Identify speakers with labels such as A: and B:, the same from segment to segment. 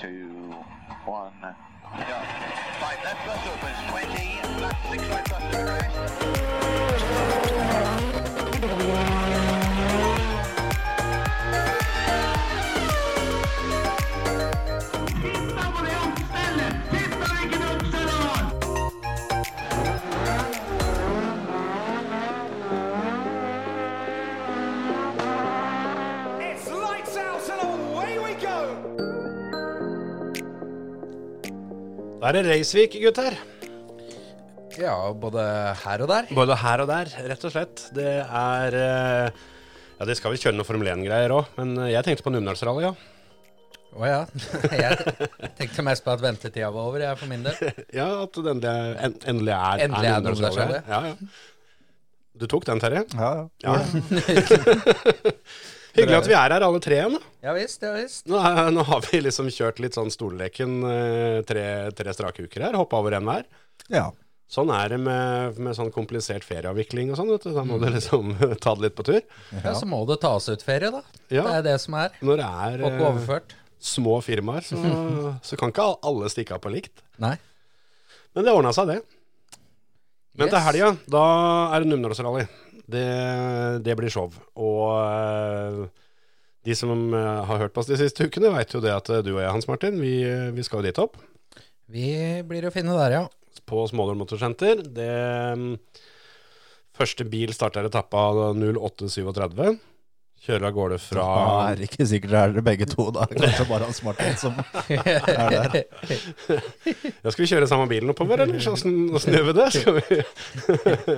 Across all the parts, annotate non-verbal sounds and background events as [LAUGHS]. A: two, one.
B: Yeah. Right, left bus opens 20, left 6 right bus to arrest.
C: It's lights out and away we go!
D: Da er det Reisvik, gutter.
E: Ja, både her og der.
D: Både her og der, rett og slett. Det er eh, Ja, de skal vel kjøre noen Formel 1-greier òg, men eh, jeg tenkte på Numedalsrally, ja.
E: Å ja. [LAUGHS] Jeg tenkte mest på at ventetida var over, jeg, for min del.
D: Ja, at det endelig er, en, endelig er,
E: Endelig er det Numedalsrally.
D: Ja, ja. Du tok den, Terje?
F: Ja, ja.
D: Ja. Hyggelig at vi er her alle tre igjen. da.
E: Ja visst, ja visst.
D: Nå, er- nå har vi liksom kjørt litt sånn stolleken eh, tre, tre strake uker her. Hoppa over en hver.
F: ja.
D: Sånn er det med, med sånn komplisert ferieavvikling og sånn. vet du. Da må du liksom [LAUGHS] ta det litt på tur.
E: Ja, Så må det tas ut ferie, da.
D: Ja.
E: Det er det som er.
D: Når det er
E: Får ikke
D: eh,
E: overført.
D: små firmaer, så, så kan ikke alle stikke av på likt.
E: Nei.
D: Men det ordna seg, det. Men til
E: Yes.
D: helga, da er det Numedalsrally. Det, det blir show. Og eh, de som eh, har hørt på oss de siste ukene, veit jo det at eh, du og jeg, Hans Martin, vi, eh, vi skal jo dit opp.
E: Vi blir å finne der, ja.
D: [LAUGHS] På Smålund Motorsenter. Det mm, Første bil starter etappa 08.37. Kjører av gårde fra
F: Da er det ikke sikkert det er dere begge to, da. Kanskje bare Hans Martin som er der.
D: Ja, skal vi kjøre samme bilen oppover, eller? Sånn Så Åssen åssen gjør vi det? Skal vi? [LAUGHS]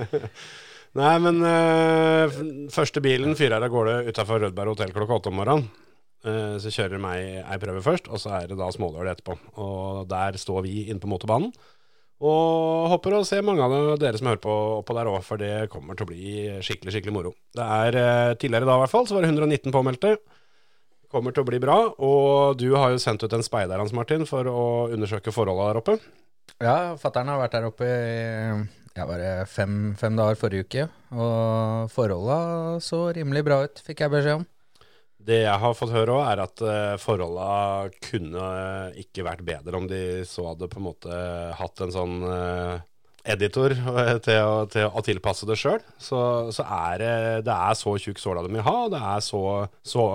D: Nei, men eh, f- første bilen fyrer av gårde utafor Rødberg hotell klokka åtte om morgenen. Eh, så kjører de ei, ei prøve først, og så er det da småløl etterpå. Og der står vi inne på motorbanen. Og håper å se mange av dere som hører på, på der òg, for det kommer til å bli skikkelig skikkelig moro. Det er eh, Tidligere i dag i hvert fall, så var det 119 påmeldte kommer til å bli bra. Og du har jo sendt ut en speider, Hans Martin, for å undersøke forholda der oppe.
E: [LAUGHS] Ja, fattern har vært der oppe i ja, bare fem, fem dager forrige uke. Og forholda så rimelig bra ut, fikk jeg beskjed om.
D: Det jeg har fått høre òg, er at eh, forholda kunne ikke vært bedre om de så hadde på en måte hatt en sånn eh, editor eh, til å, til å tilpasse det sjøl. Så, så er det, det er så tjukk såla de vil ha, og det er så, så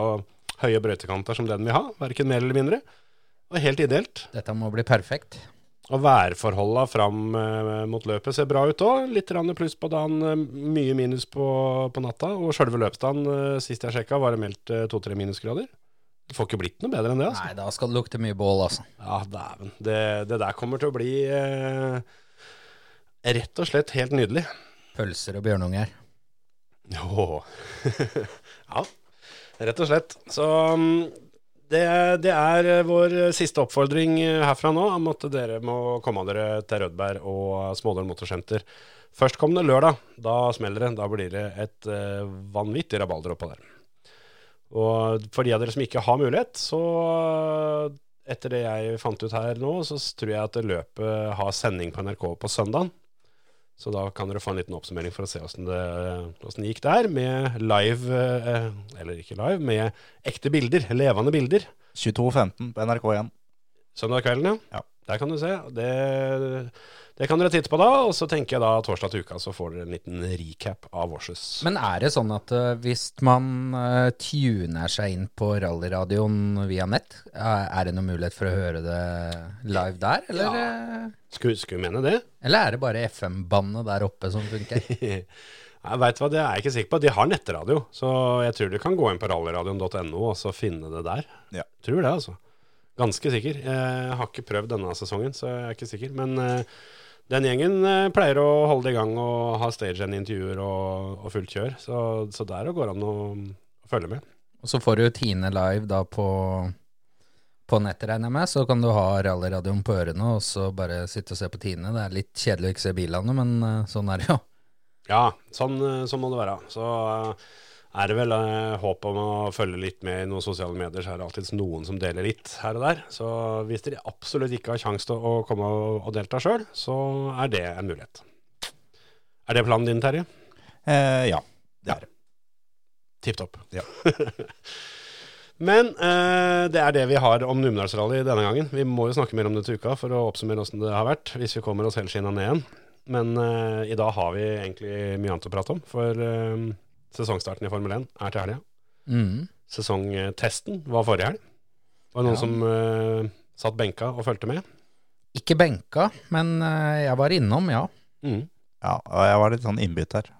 D: høye brøytekanter som den vil ha. Verken mer eller mindre. Og helt ideelt.
E: Dette må bli perfekt.
D: Og værforholda fram eh, mot løpet ser bra ut òg. Litt grann pluss på dagen, eh, mye minus på, på natta. Og sjølve løpsdagen, eh, sist jeg sjekka, var det meldt eh, to-tre minusgrader. Det får ikke blitt noe bedre enn det, altså.
E: Nei, da skal det lukte mye bål, altså.
D: Ja, dæven. Det, det der kommer til å bli eh, rett og slett helt nydelig.
E: Pølser og bjørnunger.
D: Åh. [LAUGHS] ja, rett og slett. Så mm, det, det er eh, vår siste oppfordring eh, herfra nå om at dere må komme dere til Rødberg og Smådøl Motorsenter. Førstkommende lørdag, da smeller det. Da blir det et eh, vanvittig rabalder oppå der. Og for de av dere som ikke har mulighet, så eh, etter det jeg fant ut her nå, så s- tror jeg at løpet har sending på NRK på søndagen. Så da kan dere få en liten oppsummering for å se åssen det, hvordan det gikk der, med live, eh, eller ikke live, med ekte bilder, levende bilder.
F: 22.15 på NRK1.
D: Søndag kvelden, ja.
F: Ja.
D: Der kan du se. Det, det kan dere titte på da, og så tenker jeg da torsdag til uka så får dere en liten recap av Vårsus.
E: Men er det sånn at eh, hvis man eh, tuner seg inn på rallyradioen via nett, eh, er det noen mulighet for å høre det live der, eller, eh,
D: Skulle skulle mene det?
E: eller er det bare FM-bandet der oppe som
D: [LAUGHS]
E: funker?
D: Jeg vet hva, det er jeg ikke sikker på. De har nettradio, så jeg tror du kan gå inn på rallyradioen.no og så finne det der.
F: Ja.
D: Tror det, altså. Ganske sikker. Jeg har ikke prøvd denne sesongen, så jeg er ikke sikker. Men eh, den gjengen eh, pleier å holde det i gang og ha stagehand-intervjuer og, og fullt kjør, så, så der går det an å, å følge med.
E: Og så får du Tine live da på, på nettet, regner jeg med, så kan du ha rallyradioen på ørene og så bare sitte og se på Tine. Det er litt kjedelig å ikke se bilene, men eh, sånn er det jo.
D: Ja, sånn, eh, sånn må det være. Så eh, er det vel eh, håp om å følge litt med i noen sosiale medier, så er det alltid noen som deler litt her og der. Så hvis dere absolutt ikke har sjanse til å komme og, og delta sjøl, så er det en mulighet. Er det planen din, Terje?
F: Eh, ja.
D: Tipp topp.
F: Ja.
D: [LAUGHS] Men eh, det er det vi har om Numedalsrally denne gangen. Vi må jo snakke mer om det til uka for å oppsummere åssen det har vært, hvis vi kommer oss helskinna ned igjen. Men eh, i dag har vi egentlig mye annet å prate om, for eh, sesongstarten i Formel 1 er til helga.
E: Mm.
D: Sesongtesten var forrige helg. Var det noen
E: Ja.
D: som eh, satt benka og fulgte med?
E: Ikke benka, men eh, jeg var innom, ja.
D: Mm.
F: Ja, og jeg var litt sånn innbytter.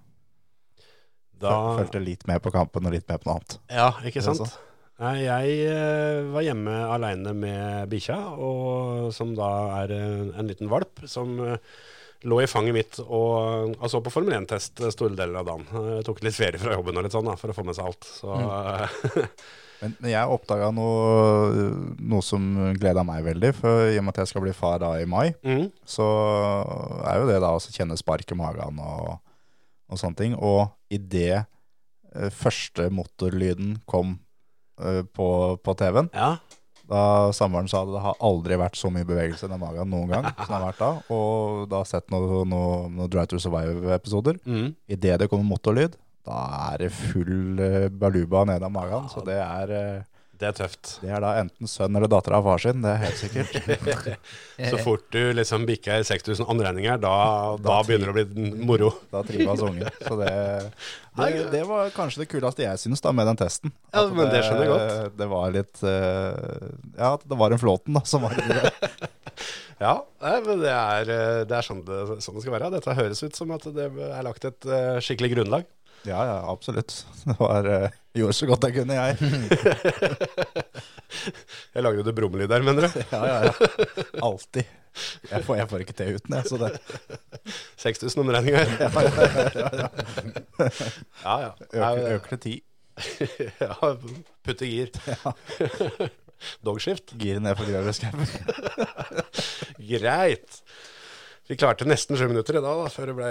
D: Da,
F: Følte litt med på kampen og litt med på noe annet.
D: ja, ikke
F: Det er
D: sant? Nei, jeg eh, var hjemme aleine med bikkja, og, som da er eh, en liten valp, som eh, lå i fanget mitt og og så på Formel 1-test store deler av dagen. Eh, tok litt ferie fra jobben og litt sånn da, for å få med seg alt. Så eh, [LAUGHS]
F: Men men jeg oppdaga noe, noe som gleda meg veldig, for i og med at jeg skal bli far da i mai,
D: mm,
F: så er jo det da også å kjenne spark i magen og, og sånne ting. Og idet eh, første motorlyden kom eh, på, på TV-en,
D: ja.
F: da samboeren sa det har aldri vært så mye bevegelse i den magen noen gang som det har vært da, og da har sett noen noe, noe Drive to Survive-episoder.
D: Mm.
F: Idet det kommer motorlyd, da er det full eh, baluba nede av magen. Så det er, eh,
D: Det er tøft.
F: det er da enten sønn eller datter av far sin, det er helt sikkert.
D: Så fort du liksom bikker 6000 anregninger, da, da begynner det å bli moro.
F: Da trives ungen. Så det, det, det var kanskje det kuleste jeg syns da, med den testen.
D: Ja,
F: At
D: men det skjønner jeg godt.
F: Det var litt eh, Ja, at det var en flåten da, som var
D: [LAUGHS]
F: det.
D: Ja, nei, men det er, eh, det er sånn, det, sånn det skal være. Dette høres ut som at det er lagt et eh, skikkelig grunnlag.
F: Ja, ja, absolutt. Det var eh, Gjorde så godt jeg kunne, jeg.
D: Jeg lager jo det brummelyd der,
F: [LAUGHS]
D: mener du?
F: Ja, ja, ja. Alltid. Jeg får, jeg får ikke til uten, jeg. Så det
D: [LAUGHS] 6000 omregninger. Ja, ja. ja,
F: øker,
D: ja.
F: øker til ti.
D: [LAUGHS] ja putte gir. [LAUGHS] Dogskift.
F: Giret ned for grøveskauen.
D: Greit. Vi klarte nesten sju minutter i dag, da, før det ble,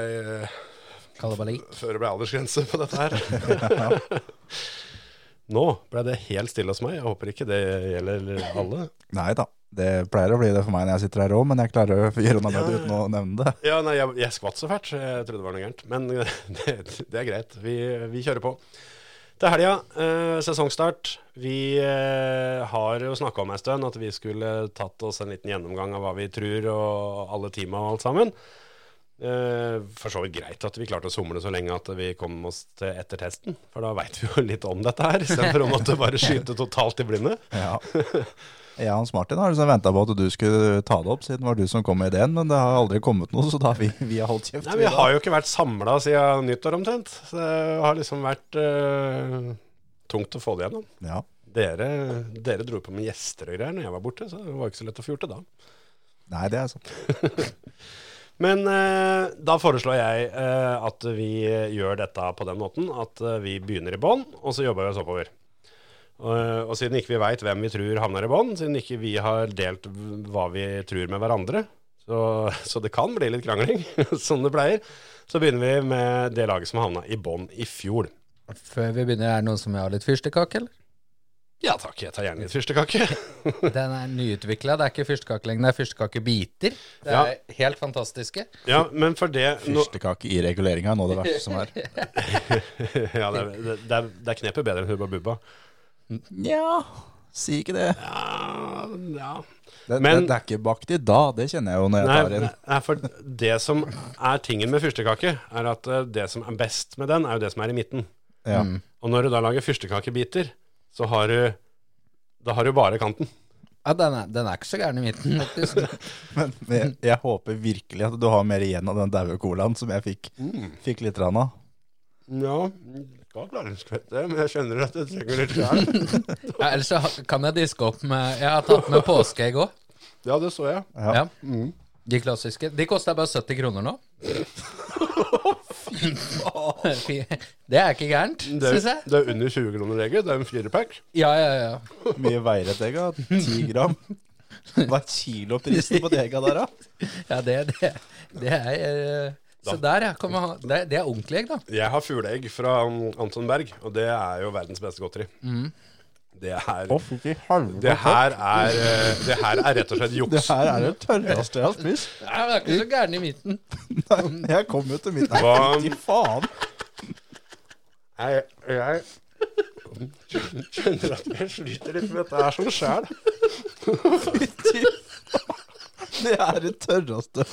E: Kalabalik.
D: før det ble aldersgrense på dette
F: [LAUGHS]
D: her. Nå ble det helt stille hos meg. Jeg håper ikke det gjelder alle.
F: [LAUGHS] Nei da. Det pleier å bli det for meg når jeg sitter her òg, men jeg klarer å [LAUGHS] gjøre unna med det
D: Ja.
F: uten å nevne det.
D: Ja, nei, jeg, jeg skvatt så fælt, så jeg trodde det var noe gærent. Men [LAUGHS] det, det er greit. Vi, vi kjører på. Til helga, eh, sesongstart. Vi eh, har jo snakka om ei stund at vi skulle tatt oss en liten gjennomgang av hva vi tror, og alle teama og alt sammen. Eh, for så vidt greit at vi klarte å somle så lenge at vi kom oss til etter testen. For da veit vi jo litt om dette her, istedenfor å måtte bare skyte totalt i blinde.
F: Ja.
D: [LAUGHS]
F: Jeg og Hans Martin har liksom venta på at du skulle ta det opp, siden det var du som kom med ideen. Men det har aldri kommet noe, så da har vi, vi har holdt kjeft.
D: Nei, Vi har jo ikke vært samla siden nyttår omtrent. Så det har liksom vært eh, tungt å få det gjennom.
F: Ja.
D: Dere, dere dro på med gjester og greier når jeg var borte, så det var ikke så lett å få gjort det da.
F: Nei, det er sånn sant.
D: Men eh, da foreslår jeg eh, at vi gjør dette på den måten at eh, vi begynner i bånn, og så jobber vi oss oppover. Eh, og siden ikke vi veit hvem vi tror havner i bånn, siden ikke vi har delt v- hva vi tror med hverandre, så, så det kan bli litt krangling, [LAUGHS] som det pleier, så begynner vi med det laget som havna i bånn i fjor.
E: Før vi begynner, er det noen som vil ha litt fyrstekake, eller?
D: Ja takk, jeg tar gjerne litt fyrstekake.
E: Den er nyutvikla. Det er ikke fyrstekake lenger, det er fyrstekakebiter. Det er helt fantastiske.
D: [LAUGHS] Ja, men for det nå-
F: Fyrstekake i reguleringa er nå det verste som er.
D: [LAUGHS] Ja, det, er- det, det, er- det er knepet bedre enn Hubba Bubba.
F: Nja, si ikke det.
D: Ja, ja.
F: Det,
D: Men-
F: det, det er ikke bakt i dag, det kjenner jeg jo når jeg tar
D: Nei,
F: en.
D: nei, for det som er tingen med fyrstekake, er at eh, det som er best med den, er jo det som er i midten.
F: Ja.
D: Og når du da lager fyrstekakebiter, så har du da har du bare kanten.
E: Ja, den er, den er ikke så gæren i midten, faktisk.
F: [LAUGHS] Men, men jeg, jeg håper virkelig at du har mer igjen av den daue colaen som jeg fikk, fikk litt rann av.
D: Ja, skal klare en skvett, det, men jeg skjønner at det trenger [LAUGHS] litt skjær.
E: Ja, ellers så ha- kan jeg diske opp med Jeg har tatt med påskeegg òg.
D: Ja, det så jeg.
E: Ja. Mm. De klassiske. De koster bare 70 kroner nå. Fy- det er ikke gærent,
D: Det er,
E: syns jeg.
D: det er under 20 kroner egget, det er en firepack.
E: Ja, ja, ja.
F: Mye veier et egg, da. Ti gram. Hva er kiloprisen på de egga der, da?
E: ja det, det, det er eh, Så der, ja. Kan man, ha- det, det er ordentlig egg, da.
D: Jeg har fugleegg fra um, Anton Berg, og det er jo verdens beste godteri. Det er
F: Å, fy helvete.
D: Det her er, eh, det her er rett og slett
F: Det
D: juks.
F: her er det tørreste jeg har [LAUGHS] spist.
E: Ja, det er ikke så gæren i midten.
F: Nei, Jeg kom jo til mitt
D: Hva-
F: Fy faen.
D: Jeg, jeg Skjønner at jeg sliter litt med dette her som sjæl.
F: Det er det tørreste.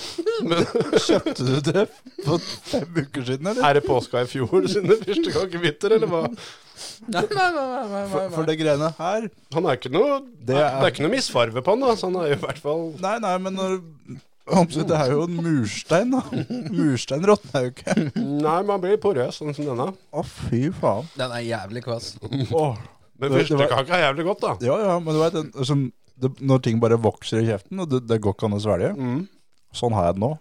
F: Men kjøpte du det for fem uker siden, eller?
D: Er det påska i fjor sine fyrstekakebiter, eller hva?
E: Nei, nei, nei, nei, nei,
F: For, for det greiene her
D: Han er ikke noe Det er, det er ikke noe misfarve på han, da, så han er jo i hvert fall
F: Nei, nei, men når Absolutt, det er jo en murstein, da. Murstein råtner jo ikke. Å,
D: Nei, man blir porøs, sånn som denne.
F: fy faen.
E: Den er jævlig kvass.
F: Åh.
D: Men
F: Det- det var-
D: fyrstekake er jævlig godt, da.
F: Ja, ja, men du vet, den- liksom, det, når ting bare vokser i kjeften, og det, det går ikke an å svelge Sånn har jeg det nå.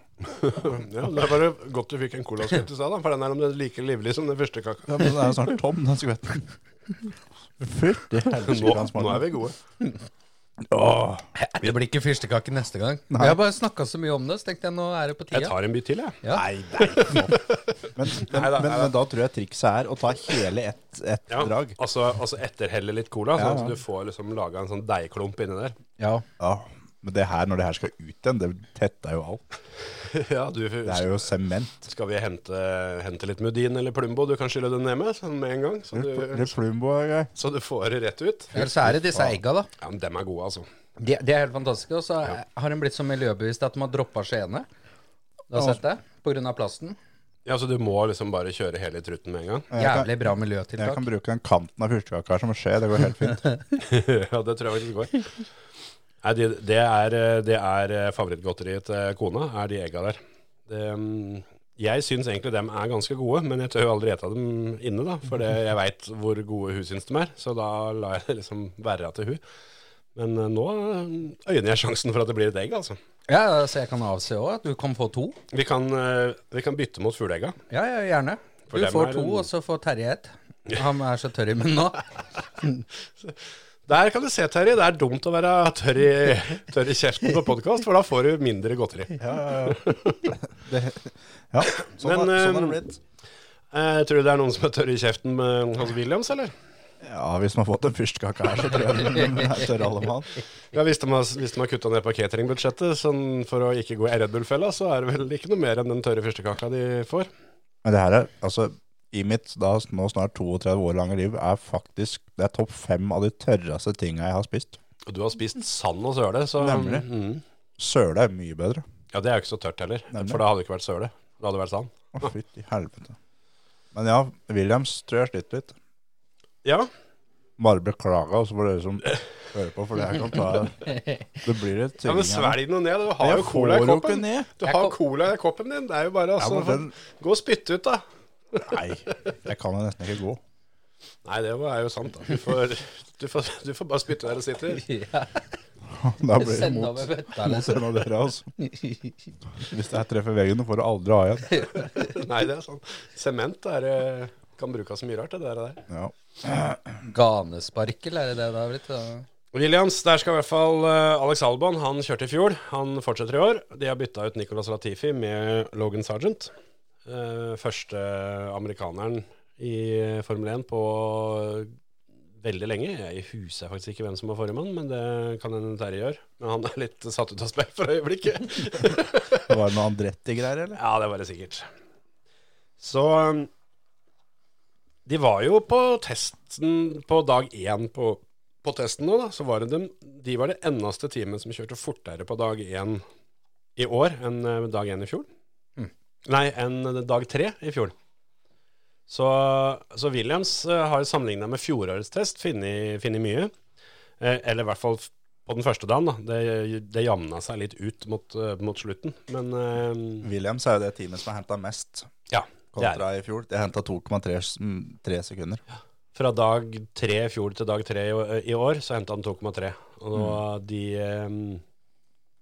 D: Ja, det er bare godt du fikk en colaskutt i stad, da, for den er om like livlig som den fyrstekaka.
F: Ja, men den er jo snart tom, den skvetten. Fytti helvete.
D: Nå,
F: skulle han smake.
D: nå er vi gode.
F: Åh.
E: Det blir ikke fyrstekake neste gang.
F: Nei.
E: Vi har bare snakka så mye om det, så tenkte jeg nå er det på
D: Jeg
E: tida.
D: tar en bit til, jeg.
E: Ja.
F: Nei, det er ikke noe. Men, men,
D: Neida,
F: men,
D: neida.
F: men da tror jeg trikset er å ta hele ett et
D: Ja,
F: drag.
D: altså, altså etterhelle litt cola,
F: Ja,
D: sånn
F: ja.
D: at du får liksom laga en sånn deigklump inni der.
E: Ja.
F: Ja, men det her, når det her skal ut igjen, det tetter jo alt.
D: Ja, du,
F: Det er jo sement.
D: Skal vi hente, hente litt Mudin eller Plumbo du kan skylle den ned med sånn med en gang? Så du,
F: Plumbo er eh, gøy.
D: så du får det rett ut.
E: Eller så er det disse egga, da.
D: Ja, men dem er gode, altså.
E: De, de er helt fantastiske. Og så er- har de blitt så miljøbevisst at de har droppa skjeene. Du har sett det? På grunn av plasten.
D: Ja, Så du må liksom bare kjøre hele trutten med en gang?
F: kan-
E: Jævlig bra
F: Jeg kan
E: miljøtiltak.
F: bruke den kanten av fyrstekaka her som skje, det går helt fint.
D: ja, det tror jeg faktisk går. Nei, det, det er, eh, det er eh, favorittgodteriet til kona, er de egga der. Det, mm, jeg syns egentlig dem er ganske gode, men jeg tør jo aldri ete dem inne, da. For det- jeg veit hvor gode hun syns dem er, så da lar jeg det liksom være til hun. Men eh, nå eh, øyner jeg sjansen for at det blir et egg, altså.
E: Ja, så jeg kan avse òg at du kan få to.
D: Vi kan, eh, vi kan bytte mot fugleegga.
E: Ja, ja, gjerne.
D: For
E: Du
D: dem er
E: får to,
D: det-
E: og så får Terje ett. Han er så tørr i
F: [LAUGHS]
E: munnen nå.
D: Der kan du se, Terje, det er dumt å være tørr i, tørr i kjeften på podkast, for da får du mindre godteri.
F: Ja, ja, ja. [LAUGHS] Det, ja sånn, har, sånn
D: Men,
F: har det
D: eh,
F: blitt.
D: Eh, tror du det er noen som er tørr i kjeften med Hans Williams, eller?
F: Ja, hvis man har fått en fyrstekake her, så tror jeg den er tørr alle mann.
D: Ja, Hvis de har, hvis de har kutta ned på cateringbudsjettet sånn for å ikke gå i Red Bull-fella, så er det vel ikke noe mer enn den tørre fyrstekaka de får.
F: Men det her er, altså, i mitt da nå snart 32 år lange liv, er faktisk, det er topp fem av de tørreste tinga jeg har spist.
D: Og du har spist sand og søle, så
F: Nemlig.
D: Mm.
F: Søle er mye bedre.
D: Ja, det er jo ikke så tørt heller,
F: Nemlig.
D: for da hadde det ikke vært søle. Da hadde det vært sand.
F: Å, fytti helvete. Men ja, Williams tror jeg sliter litt.
D: Ja,
F: Bare beklager, og så får dere som hører på, for det her kan ta Det blir et
D: ja
F: tvilling
D: men
F: her.
D: svelg noe ned. Du
F: Men
D: har
F: jeg
D: jo cola
F: får
D: i
F: jo ikke
D: koppen.
F: ned.
D: Du
E: Jeg
D: har
E: kom-
D: cola i koppen din. Det er jo bare
F: Ja,
D: altså,
F: men den,
D: Gå og spytte ut, da.
F: nei, jeg kan jo nesten ikke gå.
D: Nei, det var- er jo sant. da. Du får, du får, du får bare spytte der du
F: [LAUGHS]
D: sitter.
E: Ja,
F: Da blir det
E: Send
F: mot,
E: over bøtta,
F: mot en av dere, altså. Hvis det her treffer veggen, så får du aldri ha igjen.
D: Nei, det er sånn. Sement er, eh, kan brukes så mye rart, det der. og der.
F: Ja.
E: Ganesparkel, er det det det har blitt? da?
D: Williams, der skal i hvert fall eh, Alex Albon. Han kjørte i fjor, han fortsetter i år. De har bytta ut Nicolas Latifi med Logan Sergeant. Eh, første amerikaneren i eh, Formel 1 på eh, veldig lenge. Jeg husker faktisk ikke hvem som var forrige mann, men det kan hende Terje gjør. Men han er litt satt ut av spill for øyeblikket.
F: Det var noe Andretti-greier, eller?
D: Ja, det var det sikkert. Så um, De var jo på testen på dag én på, på testen nå, da. Så var det dem De var det eneste teamet som kjørte fortere på dag én i år enn eh, dag én i fjor. Nei, enn eh, dag tre i fjor. Så, så Williams eh, har sammenligna med fjorårets test funnet funnet mye. Eh, eller i hvert fall f- på den første dagen. da Det, det jamna seg litt ut mot, eh, mot slutten. Men eh,
F: Williams er jo det teamet som har henta mest
D: ja, det er det.
F: kontra i fjor. De henta 2,3 s- mm, tre sekunder.
D: Fra dag tre i fjor til dag tre i å- i år, så henta han 2,3. Og det var de, eh,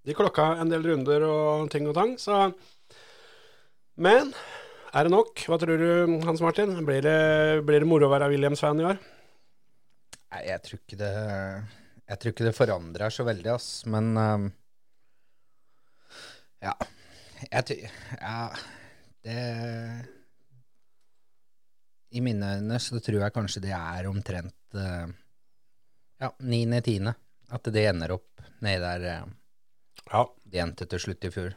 D: de klokka en del runder og ting og tang, så Men er det nok? Hva tror du, Hans Martin? Blir det, blir det moro å være Williams-fan i år?
E: Nei, jeg tror ikke det Jeg tror ikke det forandrer så veldig, ass. Men ehm, Ja. Jeg tror Ja, det I mine øyne så tror jeg kanskje det er omtrent eh, Ja, niende-tiende. At det ender opp nedi der eh,
D: Ja.
E: de endte til slutt i fjor.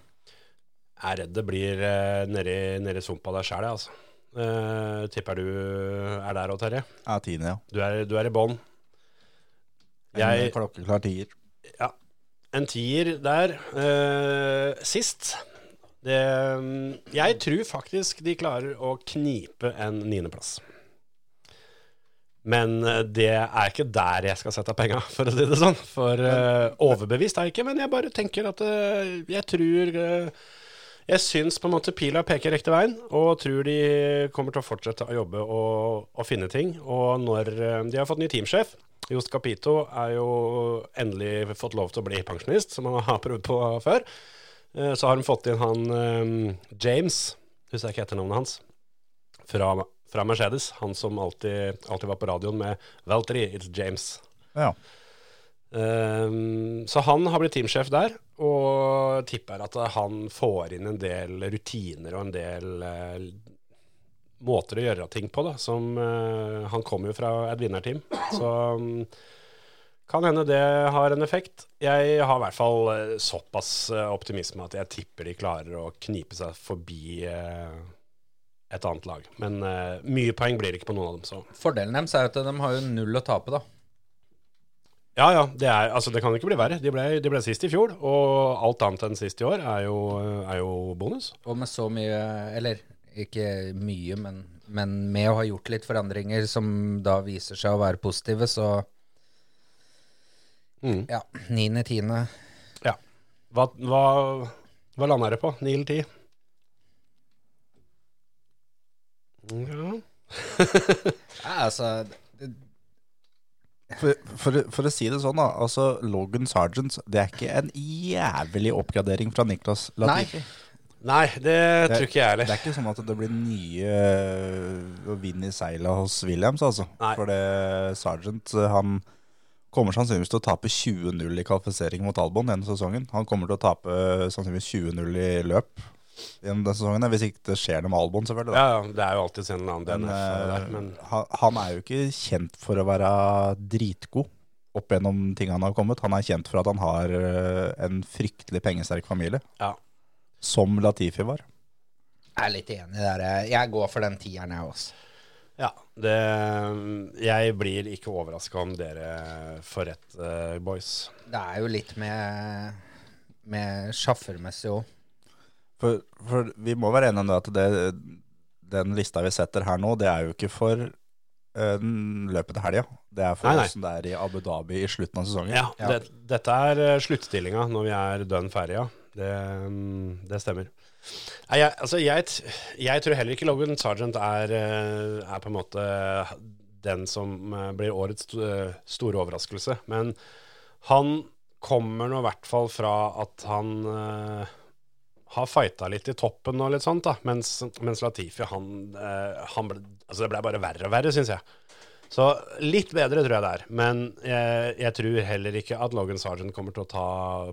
D: Jeg er redd det blir eh, nedi, nedi sumpa der sjæl, altså. Eh, tipper du er der òg, Terje.
F: Ja, tiende, ja.
D: Du er, du er i bånn.
F: En
D: Jeg-
F: Klokkeklar tier.
D: En tier der. eh, sist det, Jeg tror faktisk de klarer å knipe en niendeplass. Men eh, det er ikke der jeg skal sette penga, for å si det sånn. For eh, overbevist er jeg ikke, men jeg bare tenker at eh, jeg tror eh, Jeg syns på en måte pila peker riktig veien, og tror de kommer til å fortsette å jobbe og, og finne ting. Og når eh, de har fått ny teamsjef Jost Capito er jo endelig fått lov til å bli pensjonist, som han [LAUGHS] har prøvd på før. Eh, Så har han fått inn han eh, James, husker jeg ikke etternavnet hans, fra, fra Mercedes. Han som alltid, alltid var på radioen med Valtteri, it's James.
F: Ja.
D: Ehm, så han har blitt teamsjef der, og tipper at han får inn en del rutiner og en del eh, måter å gjøre ting på, da. Som eh, Han kommer jo fra et vinnerteam, så mm, kan hende det har en effekt. Jeg har i hvert fall eh, såpass eh, optimisme at jeg tipper de klarer å knipe seg forbi eh, et annet lag. Men eh, mye poeng blir det ikke på noen av dem, så
E: Fordelen deres er jo at de har jo null å tape, da.
D: Ja, ja. Det, er, altså, det kan ikke bli verre. De ble, de ble sist i fjor, og alt annet enn sist i år er jo, er jo bonus.
E: Og med så mye, eller ikke mye, men, men med å ha gjort litt forandringer som da viser seg å være positive, så
D: Mm.
E: ja, niende, tiende.
D: Ja. Hva, hva, hva landa dere på? Ni eller ti? Ja.
E: Ja, altså,
F: For, for, for å si det sånn, da. Altså, Logan Sargent det er ikke en jævlig oppgradering fra Niklas
E: nei.
F: Latifi.
D: Nei, det tror ikke jeg
F: Det
D: heller.
F: er ikke sånn at det blir nye øh, vind i seila hos Williams, altså.
D: Nei.
F: For det Sargent, eh, han kommer sannsynligvis til å tape 20-0 i kvalifisering mot Albon denne sesongen. Han kommer til å tape eh, sannsynligvis 20-0 i løp gjennom denne sesongen, hvis ikke det skjer noe med Albon, selvfølgelig. da.
D: Ja, ja, det er jo alltid en annen
F: Men,
D: DNF der,
F: øh,
D: men
F: han, han er jo ikke kjent for å være dritgod opp gjennom ting han har kommet. Han er kjent for at han har øh, en fryktelig pengesterk familie,
D: ja.
F: som Latifi var.
E: Jeg er litt enig der. jeg- Jeg går for den tieren, jeg også.
D: ja det, jeg blir ikke overraska om dere får rett, eh, boys.
E: Det er jo litt med, med sjaffermessig òg.
F: For, for vi må være enige om det at det, den lista vi setter her nå, det er jo ikke for eh, den løpet til helga. Det er for
D: Nei, nei.
F: åssen det er i Abu Dhabi i slutten av sesongen.
D: Ja,
E: Ja.
D: Det, dette er eh, sluttstillinga når vi er dønn ferdige. ja. Det, mm, det stemmer. Nei, jeg, altså, jeg, t- jeg tror heller ikke Logan Sargent er, eh, er på en måte eh, den som eh, blir årets sto- eh, store overraskelse. Men han kommer nå i hvert fall fra at han eh, har fighta litt i toppen og litt sånt, da. Mens, mens Latifi, han, eh, han ble, altså, Det ble bare verre og verre, syns jeg. Så litt bedre tror jeg det er, men jeg, jeg tror heller ikke at Logan Sargent kommer til å ta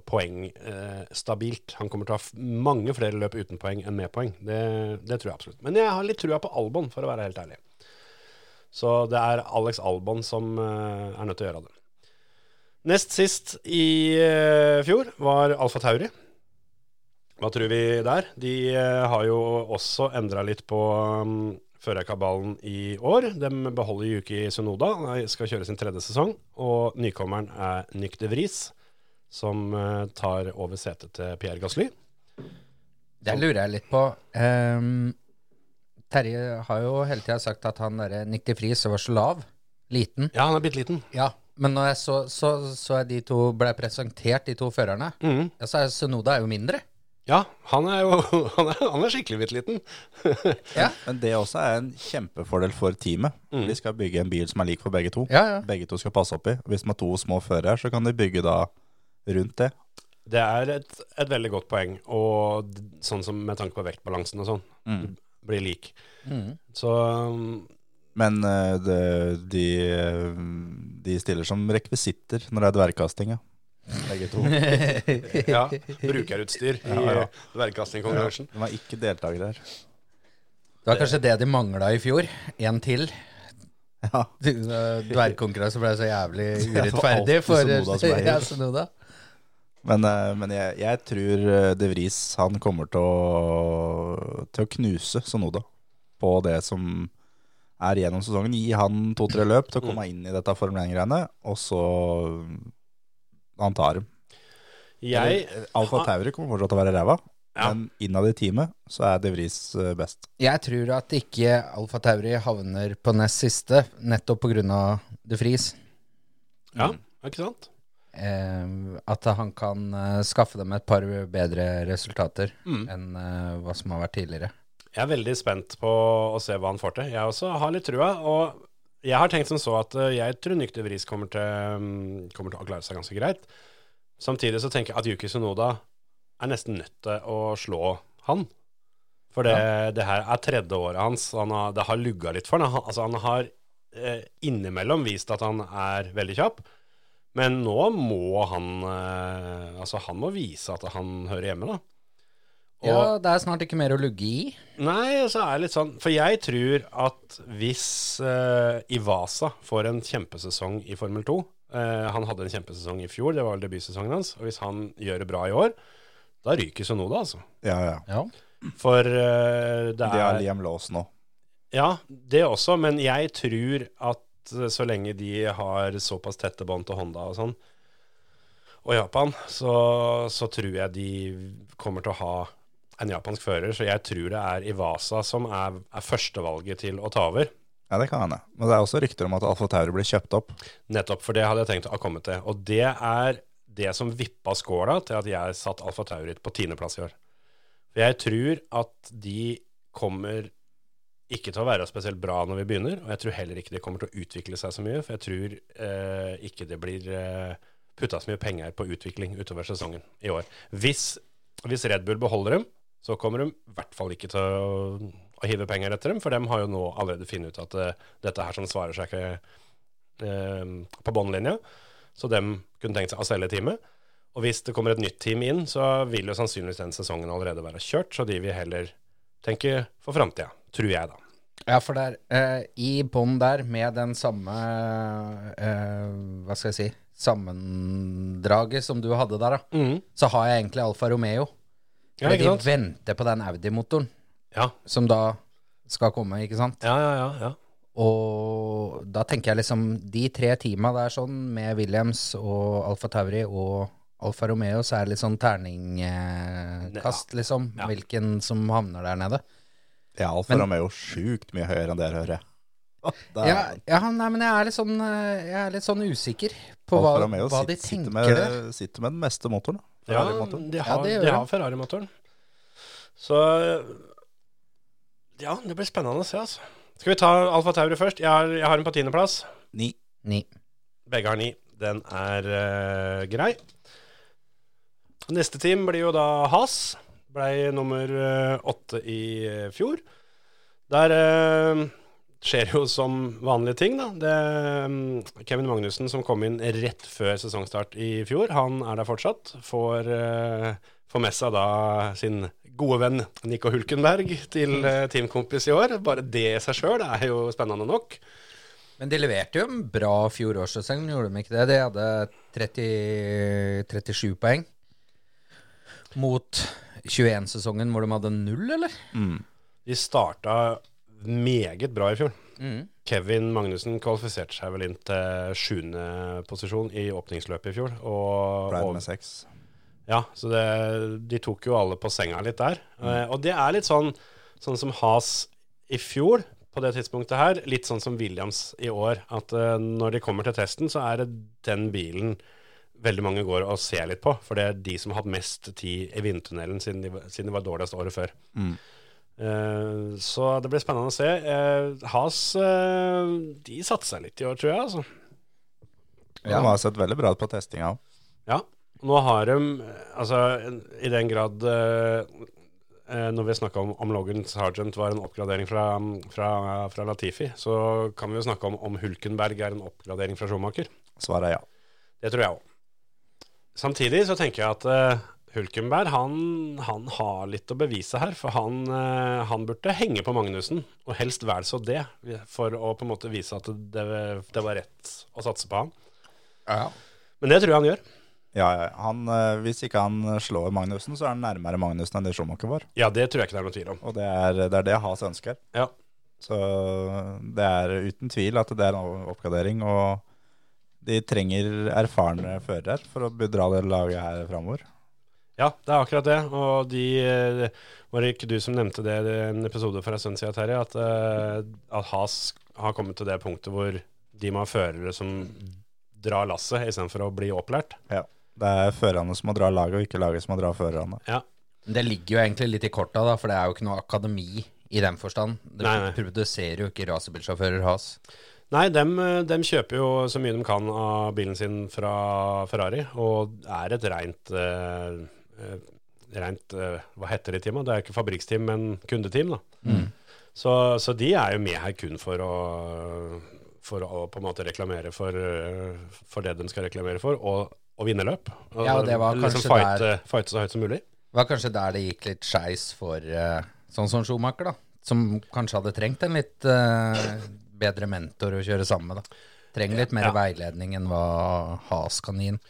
D: poeng eh, stabilt. Han kommer til å ha f- mange flere løp uten poeng enn med poeng. Det, det tror jeg absolutt. Men jeg har litt trua på Albon, for å være helt ærlig. Så det er Alex Albon som eh, er nødt til å gjøre det. Nest sist i eh, fjor var Alfa Tauri. Hva tror vi der? De eh, har jo også endra litt på um, førerkabalen i år. De beholder Yuki Sunoda, Han er- skal kjøre sin tredje sesong. Og nykommeren er Nyk de Vries, som eh, tar over setet til Pierre Gasly.
E: Det lurer jeg litt på. Ehm, Terje har jo hele tida sagt at han derre Nick de Vries var så lav. Liten.
D: Ja, han er bitte liten.
E: Ja, men når jeg så, så, så jeg de to ble presentert, de to førerne,
D: Mhm.
E: ja, så er Sunoda er jo mindre.
D: Ja, han er jo [LAUGHS] han er, han er skikkelig bitte liten. [LAUGHS]
F: Men det også er en kjempefordel for teamet.
D: Mm.
F: De skal bygge en bil som er lik for begge to.
E: Ja, ja.
F: Begge to skal passe opp i. Hvis de har to små førere, så kan de bygge da rundt det.
D: Det er et, et veldig godt poeng, og d- sånn som med tanke på vektbalansen og sånn, blir lik.
E: Mm. [LAUGHS]
D: Så um,
F: Men eh, det, de, eh, de stiller som rekvisitter når det er dvergkasting, ja. Begge
D: [LAUGHS]
F: to. De
D: ja, brukerutstyr i eh,
F: Ja, ja.
D: dvergkastingkonkurransen.
F: var ikke deltakere her.
E: Det var kanskje det de mangla i fjor. Én til.
F: Ja.
E: Dvergkonkurranse ble så jævlig
F: det var
E: urettferdig
F: alltid Sunoda
E: for
F: som eier.
E: [LAUGHS] ja, Sunoda.
F: Men, eh, men jeg, jeg tror eh, De Vries han kommer til å, til å knuse Sonoda. på det som er gjennom sesongen. Gi han to-tre løp til å komme
D: Mm.
F: inn i dette Formel 1-greiene, og så Han tar dem.
D: Jeg
F: Alfa Tauri kommer fortsatt til å være ræva,
D: Ja.
F: men innad i teamet så er De Vries eh, best.
E: Jeg tror at ikke Alfa Tauri havner på nest siste, nettopp pga. De Vries.
D: Ja, ikke sant?
E: Eh, at han kan eh, skaffe dem et par bedre resultater
D: Mm.
E: enn eh, hva som har vært tidligere.
D: Jeg er veldig spent på å se hva han får til. Jeg også har litt trua. Og jeg har tenkt som så at eh, jeg tror Nykter Vris kommer til, mm, kommer til å klare seg ganske greit. Samtidig så tenker jeg at Yuki Sunoda er nesten nødt til å slå han. For det, det her er tredje året hans. og Han har, det har lugga litt for han. han. Altså han har eh, innimellom vist at han er veldig kjapp. Men nå må han eh, Altså, han må vise at han hører hjemme, da. Og-
E: ja, det er snart ikke mer å lugge i.
D: Nei, så er det litt sånn For jeg tror at hvis eh, Ivasa får en kjempesesong i Formel 2 eh, Han hadde en kjempesesong i fjor, det var vel debutsesongen hans. Og hvis han gjør det bra i år, da ryker Sonoda, altså.
F: Ja, ja.
E: Ja.
D: For eh, det
F: De har
D: er
F: Liam Laws nå.
D: Ja, det også, men jeg tror at eh, så lenge de har såpass tette bånd til Honda og sånn, og Japan, så, så tror jeg de kommer til å ha en japansk fører, så jeg tror det er Iwasa som er, er førstevalget til å ta over.
F: Ja, det kan hende. Men det er også rykter om at Alfa Tauri blir kjøpt opp.
D: Nettopp, for det hadde jeg tenkt å komme til. Og det er det som vippa skåla til at jeg satt Alfa Tauri på tiendeplass i år. For jeg tror at de kommer ikke til å være spesielt bra når vi begynner, og jeg tror heller ikke de kommer til å utvikle seg så mye, for jeg tror eh, ikke det blir eh, putta så mye penger på utvikling utover sesongen i år. Hvis, hvis Red Bull beholder dem, så kommer de i hvert fall ikke til å, å hive penger etter dem, for dem har jo nå allerede funnet ut at eh, dette her som svarer seg ikke eh, på båndlinja, så dem kunne tenkt seg å selge teamet. Og hvis det kommer et nytt team inn, så vil jo sannsynligvis den sesongen allerede være kjørt, så de vil heller tenke for framtida, tror jeg da.
E: Ja, for der, eh, i bånn der, med den samme eh, Hva skal jeg si Sammendraget som du hadde der, da, så har jeg egentlig Alfa Romeo.
D: Mm. Ja,
E: Fordi
D: ikke sant?
E: de venter på den Audi-motoren,
D: Ja,
E: som da skal komme, ikke sant?
D: ja, ja. ja, ja.
E: Og da tenker jeg liksom De tre teama der sånn, med Williams og Alfa Tauri og Alfa Romeo, så er det litt sånn terningkast,
D: Ja.
E: kast liksom.
D: Ja.
E: Hvilken som havner der nede.
F: Ja, Alfa Romeo er jo sjukt mye høyere enn dere hører jeg. [LAUGHS] Det er-
E: Ja, ja nei, men jeg er litt sånn, eh, jeg er litt sånn usikker på hva,
F: Alfa Romeo
E: hva de
F: sitter, sitter,
E: tenker
F: med,
E: der.
F: sitter med den meste motoren. da.
D: Ja,
F: Ferrari-motoren.
D: de
E: Ja,
D: har,
E: det gjør
D: de
E: de.
D: har Ferrari-motoren. Så ja, det blir spennende å se, altså. Skal vi ta Alfa Tauri først? Jeg har, jeg har en på tiendeplass.
F: Ni.
E: Ni.
D: Begge har ni. Den er eh, grei. Neste team blir jo da Has. Blei nummer eh, åtte i eh, fjor. Der eh, skjer jo som vanlige ting, da. Det, mm, Kevin Magnussen som kom inn rett før sesongstart i fjor, han er der fortsatt. Får, eh, får med seg da sin gode venn Nico Hulkenberg til eh, teamkompis i år. Bare det i seg sjøl er jo spennende nok.
E: Men de leverte jo en bra fjorårssesong, gjorde de ikke det? De hadde 30, 37 poeng mot 21-sesongen hvor de hadde null, eller?
F: Mm.
D: De starta meget bra i fjor.
E: Mm.
D: Kevin Magnussen kvalifiserte seg vel inn til sjuende posisjon i åpningsløpet i fjor. Og,
F: Ble det
D: og,
F: med seks.
D: ja, så det, de tok jo alle på senga litt der.
F: Mm.
D: Eh, og det er litt sånn, sånn som Has i fjor på det tidspunktet her, litt sånn som Williams i år, at eh, når de kommer til testen, så er det den bilen veldig mange går og ser litt på, for det er de som har hatt mest tid i vindtunnelen siden de, var- siden de var dårligst året før. Eh, så det blir spennende å se. Eh, Has, eh, de satser seg litt i år, tror jeg, altså.
F: Ja. De har sett veldig bra ut på testinga òg.
D: Ja. Nå har de Altså, i den grad eh, eh, Når vi snakka om, om Logan Sergeant var en oppgradering fra, fra, fra Latifi, så kan vi jo snakke om om Hulkenberg er en oppgradering fra Schumacher.
F: Svaret er ja.
D: Det tror jeg òg. Samtidig så tenker jeg at eh, Hulkenberg han, han har litt å bevise her, for han, eh, han burde henge på Magnussen, og helst vel så det, for å på en måte vise at det, det var rett å satse på han.
E: Ja.
D: Men det tror jeg han gjør.
F: Ja, ja. Han, eh, hvis ikke han slår Magnussen, så er han nærmere Magnussen enn det Schumacher var.
D: Ja, det tror jeg ikke det er noen tvil om.
F: Og det er det, er det Haas ønsker.
D: Ja.
F: Så det er uten tvil at det er en oppgradering, og de trenger erfarne førere her for å dra det laget her framover.
D: Ja, det er akkurat det. Og de eh, Var det ikke du som nevnte det i en episode for en stund siden, Terje? At, eh, at Has har kommet til det punktet hvor de må ha førere som drar lasset, istedenfor å bli opplært.
F: Det er førerne som må dra laget, og ikke laget som må dra førerne.
E: Det ligger jo egentlig litt i korta, da, for det er jo ikke noe akademi i den forstand. Det
D: Nei, nei.
E: produserer jo ikke racerbilsjåfører has.
D: Nei, dem, eh, dem kjøper jo så mye de kan av bilen sin fra Ferrari, og er et rent eh, eh, Rent eh, Hva heter det i teamet? Det er ikke fabrikksteam, men kundeteam, da. Så, så de er jo med her kun for å for å på en måte reklamere for, eh, for det de skal reklamere for, og, og vinne løp. Og liksom
E: Ja, og det var kanskje
D: fighte,
E: der-
D: fighte så høyt som mulig.
E: Det var kanskje der det gikk litt skeis for eh, sånn som Schumacher, da. Som kanskje hadde trengt en litt eh, bedre mentor å kjøre sammen med, da. Trenger litt mer
D: Ja.
E: veiledning enn hva Has kan gi. den.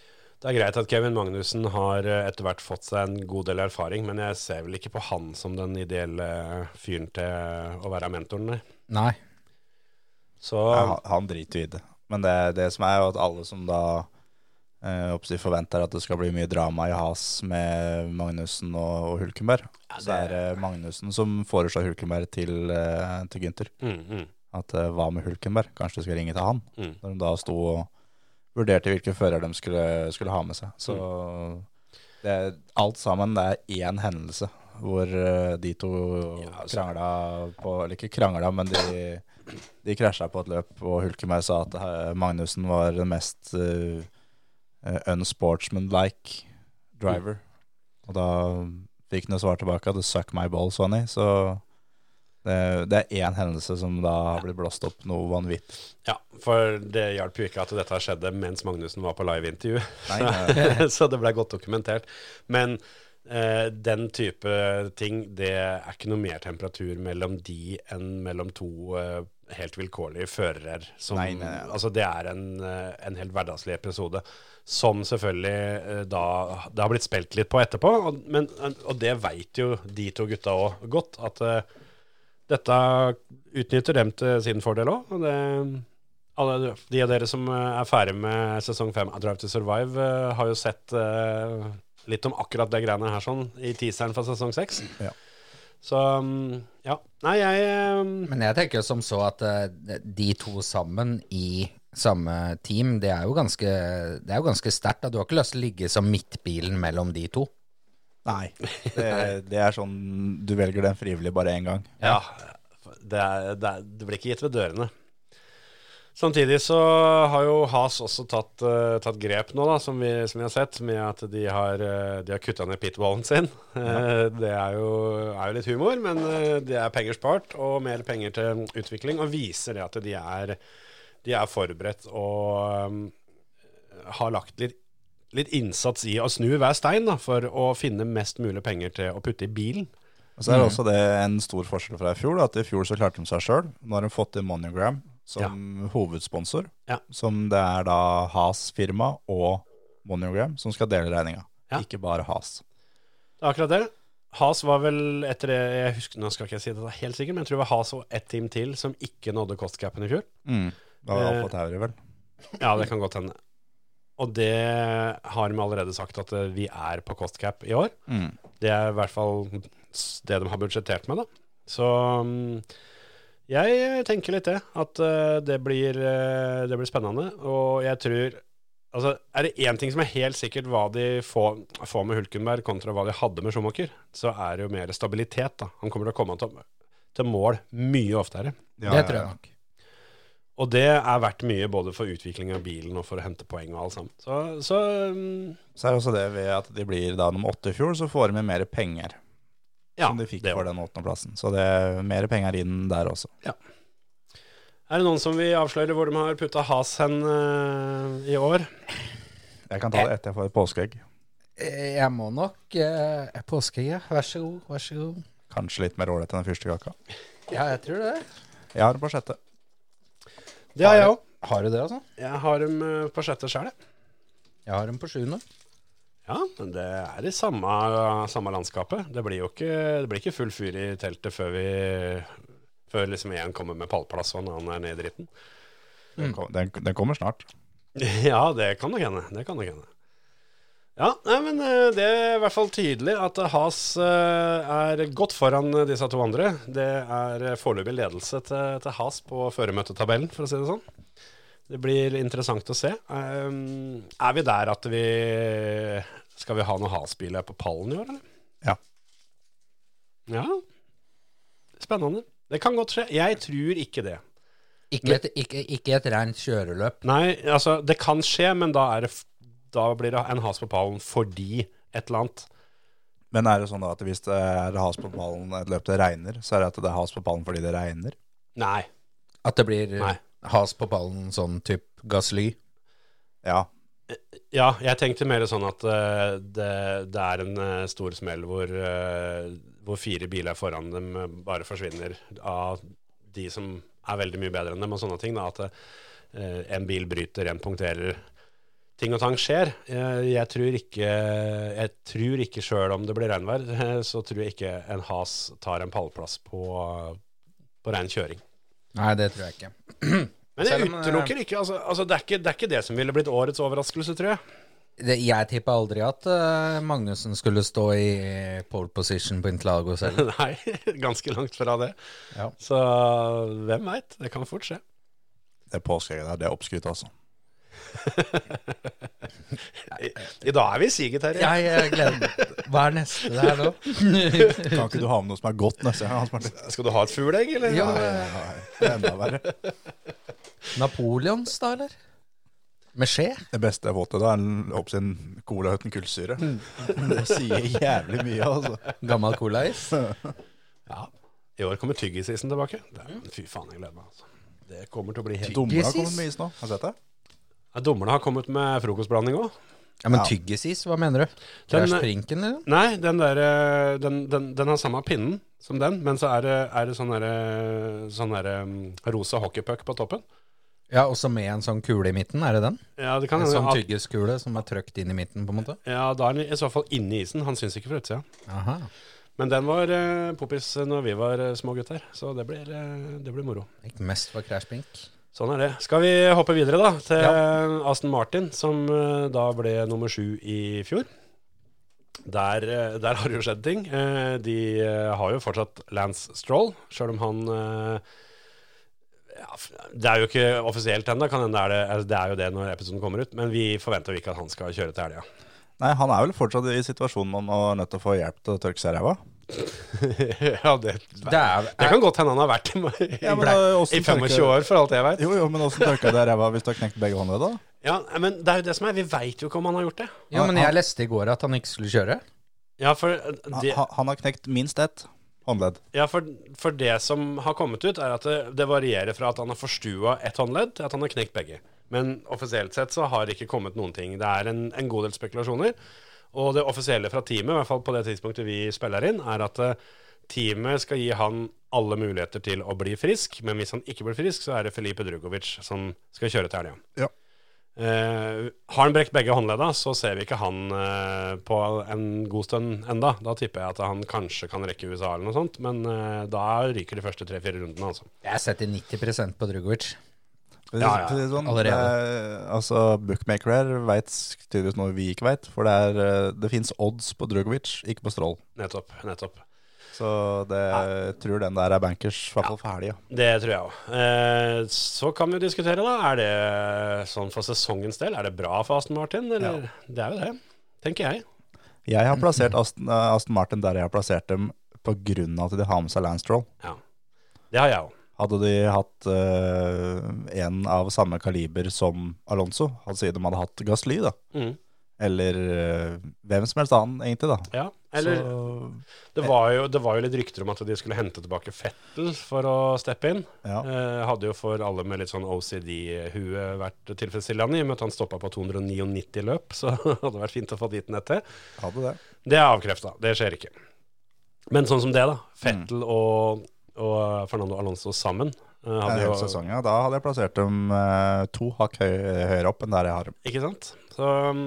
D: Det er greit at Kevin Magnussen har eh, etter hvert fått seg en god del erfaring, men jeg ser vel ikke på han som den ideelle eh, fyren til eh, å være mentoren, nei.
E: Nei.
D: Så
F: Ja, han- han driter jo i det. Men det, det som er jo at alle som da eh, oppsi forventer at det skal bli mye drama i has med Magnussen og, og Hulkenberg, så er det Magnussen som foreslår Hulkenberg til, eh, til Gynter.
D: mm, mm,
F: At eh, hva med Hulkenberg, kanskje du skal ringe til han.
D: mm.
F: Når de da sto og vurderte hvilke fører de skulle, skulle ha med seg. Så det er, alt sammen det er én hendelse hvor eh, de to krangla på Eller ikke krangla, men de, de krasja på et løp, og Hulkenberg sa at eh, Magnussen var den mest eh, eh, unsportsmanlike driver. Og da fikk han jo svar tilbake at 'suck my balls', Sonny. Så det, det er én hendelse som da har blitt blåst opp noe vanvittig.
D: Ja, for det hjalp jo ikke at dette skjedde mens Magnussen var på liveintervju. [LAUGHS]
F: Nei, nei.
D: så det ble godt dokumentert. Men eh, den type ting, det er ikke noe mer temperatur mellom de enn mellom to eh, helt vilkårlige førere. Som,
F: Nei, nei, nei.
D: Altså, det er en, eh, en helt hverdagslig episode, som selvfølgelig eh, da Det har blitt spilt litt på etterpå, og, men, og det veit jo de to gutta òg godt, at eh, dette utnytter dem til sin fordel òg. Og det, alle de av dere som eh, er ferdig med sesong fem av Drive to Survive, eh, har jo sett eh, litt om akkurat det greiene her sånn i teaseren fra sesong seks.
F: Ja.
D: Så mm, ja. Nei, jeg eh,
E: Men jeg tenker jo som så at eh, de to sammen i samme team, det er jo ganske, det er jo ganske sterkt. da. Du har ikke lyst til å ligge som midtbilen mellom de to.
F: Nei. Det, det er sånn Du velger den frivillig bare én gang.
D: Ja. Det, er, det, er, det blir ikke gitt ved dørene. Samtidig så har jo Has også tatt, eh, tatt grep nå, da, som vi, som vi har sett, med at de har, eh, de har kutta ned pitballen sin. Eh, [LAUGHS] det er jo, er jo litt humor, men eh, det er penger spart og mer penger til utvikling, og viser det at de er, de er forberedt og um, har lagt litt, litt innsats i å snu hver stein da, for å finne mest mulig penger til å putte i bilen.
F: Og så er det også det en stor forskjell fra i fjor. da, At i fjor så klarte de seg sjøl. Nå har de fått inn Monogram som hovedsponsor.
D: Ja.
F: Som det er da Has firma og Monogram som skal dele regninga.
D: Ja.
F: Ikke bare Has.
D: Det er akkurat det. Has var vel etter det jeg husker, Nå skal ikke jeg si det helt sikkert, men jeg tror det var Has og ett team til som ikke nådde kostcapen i fjor.
F: Da har vi
D: Eh.
F: Alfa Tauri, vel.
D: Ja, [LAUGHS] det kan godt hende. Og det har de allerede sagt at eh, vi er på kostcap i år.
F: Mm.
D: Det er i hvert fall s- det de har budsjettert med, da. Så mm, jeg tenker litt det, at eh, det blir, eh, det blir spennende. Og jeg tror Altså, er det én ting som er helt sikkert hva de får, får med Hulkenberg kontra hva de hadde med Schumacher, så er det jo mer stabilitet, da. Han kommer til å komme til, til mål mye oftere.
E: det tror jeg nok.
D: Og det er verdt mye både for utvikling av bilen og for å hente poeng og alt sammen. Så, så mm,
F: Så er det også det ved at de blir da nummer åtte i fjor, så får de med mer penger.
D: ja.
F: som de fikk
D: det
F: for
D: var-
F: den åttendeplassen. Så det er mer penger inn der også.
D: Er det noen som vil avsløre hvor de har putta has hen eh, i år?
F: Jeg kan ta det etter jeg får et påskeegg.
E: Eh, Jeg må nok eh, påskeegget. Vær så god, vær så god.
F: Kanskje litt mer ålreit enn den første kaka.
E: Ja, jeg tror det.
F: Jeg har den på sjette.
D: Det har jeg òg.
E: Har du det, altså?
D: Jeg har dem eh, på sjette sjøl, jeg.
E: Jeg har dem på sjuende.
D: Ja, men det er i samme, samme landskapet. Det blir jo ikke, det blir ikke full fyr i teltet før vi, Før liksom én kommer med pallplass og en annen er nede i dritten.
F: Den, kom- den, den kommer snart.
D: [LAUGHS] Ja, det kan nok hende. Det kan nok hende. Ja, nei, men eh, det er i hvert fall tydelig at eh, Haas eh, er godt foran eh, disse to andre. Det er eh, foreløpig ledelse til, til Haas på føremøtetabellen, for å si det sånn. Det blir interessant å se. Um, er vi der at vi Skal vi ha noen Haas-biler på pallen i år, eller?
F: Ja.
D: Ja. Spennende. Det kan godt skje. Jeg tror ikke det.
E: Ikke et, ikke, ikke et rent kjøreløp.
D: Nei, altså, det kan skje, men da, er det, f- da blir det en has på pallen fordi et eller annet.
F: Men er det sånn da at hvis det er has på pallen et løp det regner, så er det at det er has på pallen fordi det regner?
D: Nei.
E: At det blir eh,
D: Nei.
E: has på pallen sånn type Gasly.
F: Ja.
D: Ja, jeg tenkte mer sånn at eh, det, det er en eh, stor smell hvor, eh, hvor fire biler foran dem eh, bare forsvinner av de som er veldig mye bedre enn dem og sånne ting. Da, at eh, en bil bryter, en punkterer. Ting og tang skjer. Eh, jeg tror ikke, jeg tror ikke sjøl om det blir regnvær, eh, så tror jeg ikke en has tar en pallplass på, på rein kjøring.
E: Nei, det tror jeg ikke.
D: Men jeg
E: Selv om, eh,
D: utelukker ikke, altså, altså det, er ikke det er ikke det som ville blitt årets overraskelse, tror jeg.
E: Det, jeg tippa aldri at eh, Magnussen skulle stå i pole position på Interlago selv.
D: [LAUGHS] Nei, ganske langt fra det.
E: [LAUGHS] Ja.
D: Så hvem veit, det kan fort skje.
F: Det påskeegget der, det er oppskrytt altså.
D: I, i dag er vi i siget, Terje.
E: Jeg, jeg gleder Hva er neste der nå?
F: Kan ikke du ha med noe som er godt neste gang? Hans [LAUGHS] Martin?
D: Skal du ha et fugleegg, eller?
E: [LAUGHS] Ja,
D: Nei.
F: Nei, det er enda verre.
E: Napoleons, da, eller? Med skje?
F: Det beste jeg har fått til da, er en opp sin cola uten kullsyre. Det sier jævlig mye, altså.
E: Gammel colais?
D: Ja. I år kommer tyggisisen tilbake. Det, er- fy faen, jeg gleder meg. altså. Mm. Det kommer til å bli helt
F: Dummene har kommet med is nå. Har du sett det?
D: ja, Dommerne har kommet med frokostblanding òg.
E: Ja, men
F: Ja.
E: tyggisis, hva mener du?
D: Den-
E: Lars Prinken, eller?
D: Nei, den, der, eh, den, den, den har samme pinnen som den, men så er det, er det sånn derre sånn der, mm, rosa hockeypuck på toppen.
E: Ja, også med en sånn kule i midten, er det den?
D: Ja, det kan
E: En sånn
D: at-
E: tyggiskule som er trøkt inn i midten, på en måte?
D: Ja, da er den i så fall inni isen. Han syns ikke fra utsida.
E: Aha.
D: Men den var eh, poppis når vi var eh, små gutter, så det blir, eh, det blir moro.
E: Ikke mest for Crash Pink.
D: Sånn er det. Skal vi hoppe videre da til eh, Aston Martin, som eh, da ble nummer sju i fjor. Der, eh, der har det jo skjedd ting. Eh, De eh, har jo fortsatt Lance Stroll, sjøl om han eh, ja, f- Det er jo ikke offisielt ennå, kan hende det er det, altså, det er jo det når episoden kommer ut. Men vi forventer jo ikke at han skal kjøre til helga. [LAUGHS]
F: Nei, han er vel fortsatt i situasjonen man er nødt til å få hjelp til å tørke seg i ræva.
D: ja, det,
E: Det er,
D: det kan godt hende han har vært i,
F: Ja, men
D: i,
F: da, hvordan
D: i 25
F: tørker-
D: år, for alt jeg veit.
F: Jo, jo, men åssen tørker du deg i ræva hvis du har knekt begge håndledd, da?
D: Ja, men det er jo det som er. Vi veit jo ikke om han har gjort det.
E: Jo, men jeg leste i går at han ikke skulle kjøre.
D: Ja, for eh, det,
F: Han, han har knekt minst ett håndledd.
D: ja, for, for det som har kommet ut, er at det, det varierer fra at han har forstua ett håndledd, til at han har knekt begge. Men offisielt sett så har det ikke kommet noen ting. Det er en, en god del spekulasjoner. Og det offisielle fra teamet, i hvert fall på det tidspunktet vi spiller inn, er at eh, teamet skal gi han alle muligheter til å bli frisk. Men hvis han ikke blir frisk, så er det Felipe Drugovic som skal kjøre til helga.
F: Ja.
D: Eh, har han brekt begge håndledda, så ser vi ikke han eh, på en god stund enda. Da tipper jeg at han kanskje kan rekke USA eller noe sånt, men eh, da ryker de første tre-fire rundene, altså.
E: Jeg setter 90 på Drugovic.
D: Ja, ja,
F: For å si det sånn,
E: allerede.
F: det er- altså, bookmaker her veit tydeligvis noe vi ikke veit, for det, er, eh, det fins odds på Drugovic, ikke på Stroll.
D: Nettopp. nettopp.
F: Så det, jeg tror den der er bankers, i hvert fall for helga.
D: Det tror jeg òg. Eh, så kan vi jo diskutere, da. Er det sånn for sesongens del, er det bra for Aston Martin, eller? Det er jo det, tenker jeg.
F: Jeg har
D: [CLEARS THROAT]
F: plassert Aston, eh, Aston Martin der jeg har plassert dem pga. at de har med seg Lance Stroll.
D: Ja. Det har jeg òg.
F: Hadde de hatt eh, en av samme kaliber som Alonso, altså de hadde hatt Gasly, da,
D: Mm.
F: eller eh, hvem som helst annen, egentlig, da.
D: Ja. Eller
F: Så,
D: det var, jo, det var jo litt rykter om at de skulle hente tilbake Fettel for å steppe inn.
F: ja.
D: Eh, hadde jo for alle med litt sånn OCD-hue vært tilfredsstillende, i og med at han stoppa på 299 løp, så [LAUGHS] hadde det vært fint å få dit nett til.
F: Hadde det.
D: Det er avkrefta, det skjer ikke. Men sånn som det, da. Fettel
F: Mm.
D: og, og Fernando Alonso sammen. eh,
F: En
D: Hadde
F: hel
D: jo,
F: sesong, ja. Da hadde jeg plassert dem eh, to hakk høy, høyere opp enn der jeg har dem.
D: ikke sant? Så um,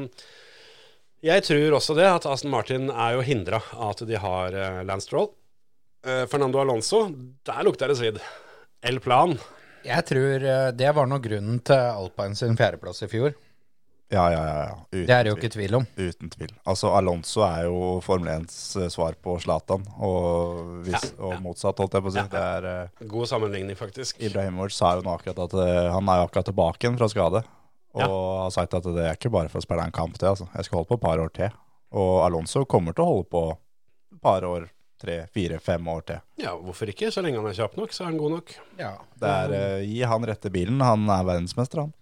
D: jeg tror også det, at Aston Martin er jo hindra av at de har eh, Lance Stroll. eh, Fernando Alonso, der lukter det svidd. El Plan.
E: Jeg tror eh, det var noe grunnen til Alpine sin fjerdeplass i fjor.
F: Ja, ja, ja. ja. Uten,
E: Det er det jo ikke tvil om.
F: tvil. Uten tvil. Altså, Alonso er jo Formel 1s svar på Zlatan, og, hvis, og motsatt, holdt jeg på å si. Det er, eh,
D: God sammenligning, faktisk.
F: Ibrahimovic sa jo nå akkurat at eh, han er jo akkurat tilbake igjen fra skade. Og
D: Ja.
F: har sagt at det er ikke bare for å spille en kamp, det. altså. Jeg skal holde på et par år til. Og Alonso kommer til å holde på et par år, tre, fire, fem år til.
D: Ja, hvorfor ikke? Så lenge han er kjapp nok, så er han god nok.
E: Ja.
F: Det er eh, Gi han rette bilen, han er verdensmester, han.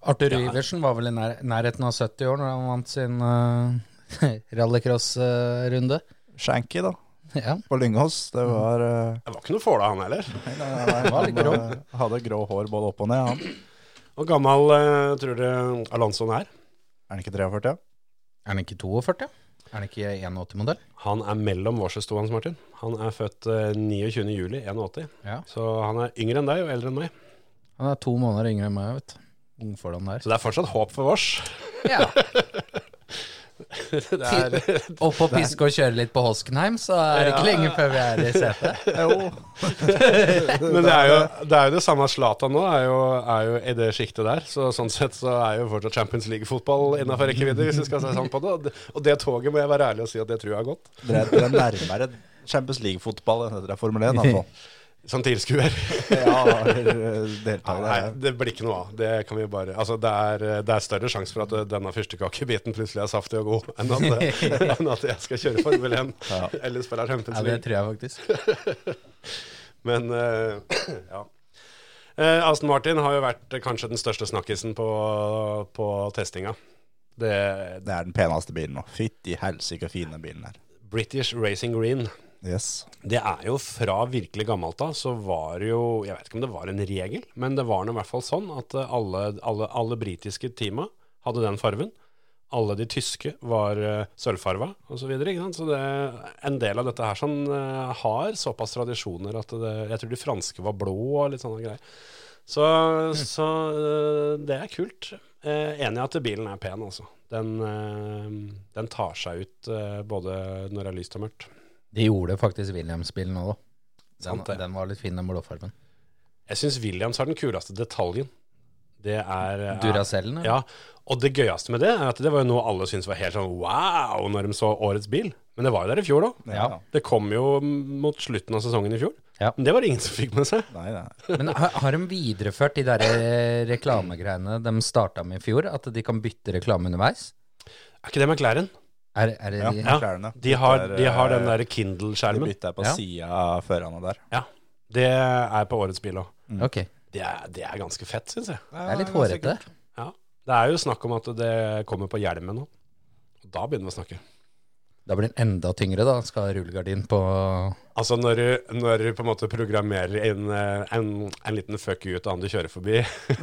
E: Arthur Iversen var vel i nær nærheten av 70 år når han vant sin eh, [LAUGHS] rallycross-runde.
F: Shanky, da,
E: ja.
F: på Lyngås. Det var eh,
D: Det var ikke noe fåla, han heller.
E: var litt
F: Han eh, hadde grå hår både opp og ned, han.
D: Og gammel eh, tror dere Alonso er?
F: Er han ikke 43?
E: Er han ikke 42? Er han ikke 81-modell?
D: Han er mellom årsestå hans, Martin. Han er født eh, 29. juli 81.
E: Ja.
D: Så han er yngre enn deg og eldre enn meg.
E: Han er to måneder yngre enn meg, vet du. Ungfor den der.
D: Så det er fortsatt håp for vårs.
E: Ja.
D: [LAUGHS] Det er,
E: [LAUGHS] Opp og piske og kjøre litt på Hoskenheim, så er det ikke lenge før vi er
D: [LAUGHS]
E: i setet.
F: [LAUGHS] Jo.
D: men det er, jo, det er jo det samme Zlatan nå, er jo, er jo i det sjiktet der. Så sånn sett så er jo fortsatt Champions League-fotball innafor rekkevidde, hvis vi skal si sånn på det. Og det- Og det toget må jeg være ærlig og si at det tror jeg har gått.
F: Dere dere er nærmere Champions League-fotball enn dere er Formel 1, altså.
D: Som tilskuer.
F: Ja, deltakere
D: Nei, det blir ikke noe av. Det kan vi bare Altså, det er, det er større sjanse for at eh, denne fyrstekakebiten plutselig er saftig og god, enn at,
E: [LAUGHS]
D: enn at jeg skal kjøre Formel 1 eller spille Champions
E: Ja, det
D: League.
E: tror jeg faktisk.
D: Men eh, [CLEARS THROAT] ja. Eh, Aston Martin har jo vært eh, kanskje den største snakkisen på, på testinga. Det
F: Det er den peneste bilen nå. Fytti helsike fine bilen her.
D: British Racing Green.
F: Yes.
D: Det er jo fra virkelig gammelt av, så var det jo Jeg vet ikke om det var en regel, men det var nå i hvert fall sånn at eh, alle, alle, alle britiske teama hadde den farven. Alle de tyske var eh, sølvfarva osv. Så, videre, ikke sant? så det, en del av dette her sånn, eh, har såpass tradisjoner at det, jeg tror de franske var blå og litt sånne greier. Så, så eh, det er kult. Eh, enig i at bilen er pen, altså. Den, eh, den tar seg ut eh, både når det er lyst og mørkt.
E: De gjorde faktisk Williams-bilen nå, da. Den,
D: Sant det.
E: den var litt fin, den blåfargen.
D: Jeg syns Williams har den kuleste detaljen. Det er eh,
E: Duracellen,
D: Ja, og det gøyeste med det er at det var jo noe alle syntes var helt sånn wow når de så årets bil. Men det var jo der i fjor òg.
E: Ja.
D: Det kom jo mot slutten av sesongen i fjor.
E: Ja.
D: Men det var det ingen som fikk med seg.
F: Nei, nei.
E: Men har, har de videreført de der eh, reklamegreiene de starta med i fjor? At de kan bytte reklame underveis?
D: Er ikke det McLaren?
E: Er, er det
F: Ja.
E: de?
D: Ja,
F: McLaren, ja.
D: de har,
F: Det er,
D: de har den
F: eh,
D: der
F: De
D: Kindle-skjermen.
F: bytta jeg på
E: Ja.
F: sida av førerne der.
D: Ja, Det er på årets bil òg.
E: Ok.
D: Det, er- det er ganske fett, syns jeg.
E: Det er litt hårete.
D: Ja. Det er jo snakk om at det kommer på hjelmen nå. Da begynner vi å snakke.
E: Da blir den enda tyngre, da. Skal ha rullegardin på
D: [LAUGHS]
E: [LAUGHS]
D: Altså når du, når du på en måte programmerer en, eh, en, en liten fuck you til han du kjører forbi, [LAUGHS]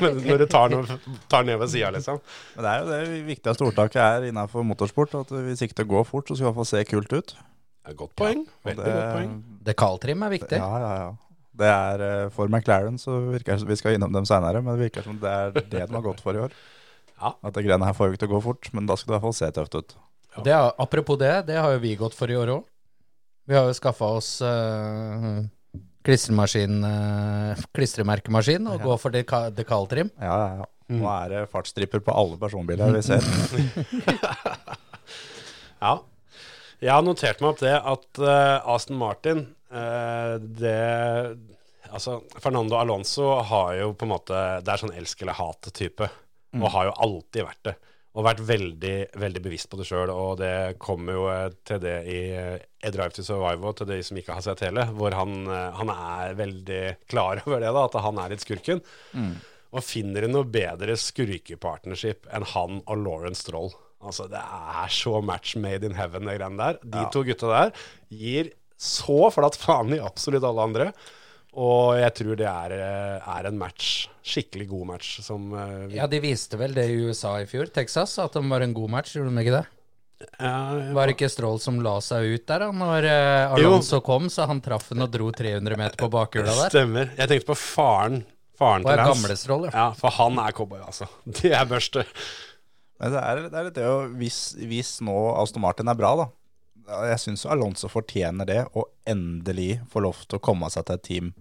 D: men når du tar, noe, tar ned ved sida, liksom.
F: Men det er jo det viktigste ordtaket er innafor motorsport. At hvis ikke det går fort, så skal det iallfall se kult ut.
D: Det er et Godt poeng.
F: Og
D: Veldig godt poeng.
E: Dekaltrim er viktig.
F: Ja, ja, ja. Det er eh, for McLaren, så virker det som vi skal innom dem seinere. Men det virker som det er det de har gått for i år.
D: Ja.
F: At det greiene her får jo ikke til å gå fort, men da skal det i hvert fall se tøft ut.
E: Det, er- apropos det, det har jo vi gått for i år òg. Vi har jo skaffa oss uh, klistremaskin, eh, klistremerkemaskin og går for deka dekaltrim.
F: Ja, ja, ja. Nå er det fartsstriper på alle personbiler vi ser. [LAUGHS]
D: Ja. Jeg har notert meg opp det at eh, Aston Martin eh, det, altså, Fernando Alonso har jo på en måte Det er sånn elsk eller hat-type. Og har jo alltid vært det. Og vært veldig veldig bevisst på det sjøl. Og det kommer jo eh, til det i eh, A Drive to Survive og til de som ikke har sett hele, hvor han, eh, han er veldig klar [LAUGHS] over det, da, at han er litt skurken. Og finner du noe bedre skurkepartnership enn han og Lauren Stroll? Altså, det er så match made in heaven, de greiene der. De to gutta der gir så flatt faen i absolutt alle andre. Og jeg tror det er, eh, er en match, skikkelig god match, som eh, vi-
E: Ja, de viste vel det i USA i fjor, Texas, at de var en god match, gjorde de ikke det?
D: Eh,
E: Var det ikke Strål som la seg ut der da når eh,
D: Jo.
E: Alonso kom, så han traff den og dro 300 meter på bakhjula der?
D: Stemmer. Jeg tenkte på faren. Faren
E: Og
D: til
E: er
D: Lance.
E: gamle Stroll, ja.
D: Ja, for han er cowboy, altså. [LAUGHS] Det er børste.
F: Men det er, det er litt det å hvis, hvis nå Aston Martin er bra, da, jeg syns Alonso fortjener det, og endelig få lov til å komme seg til et team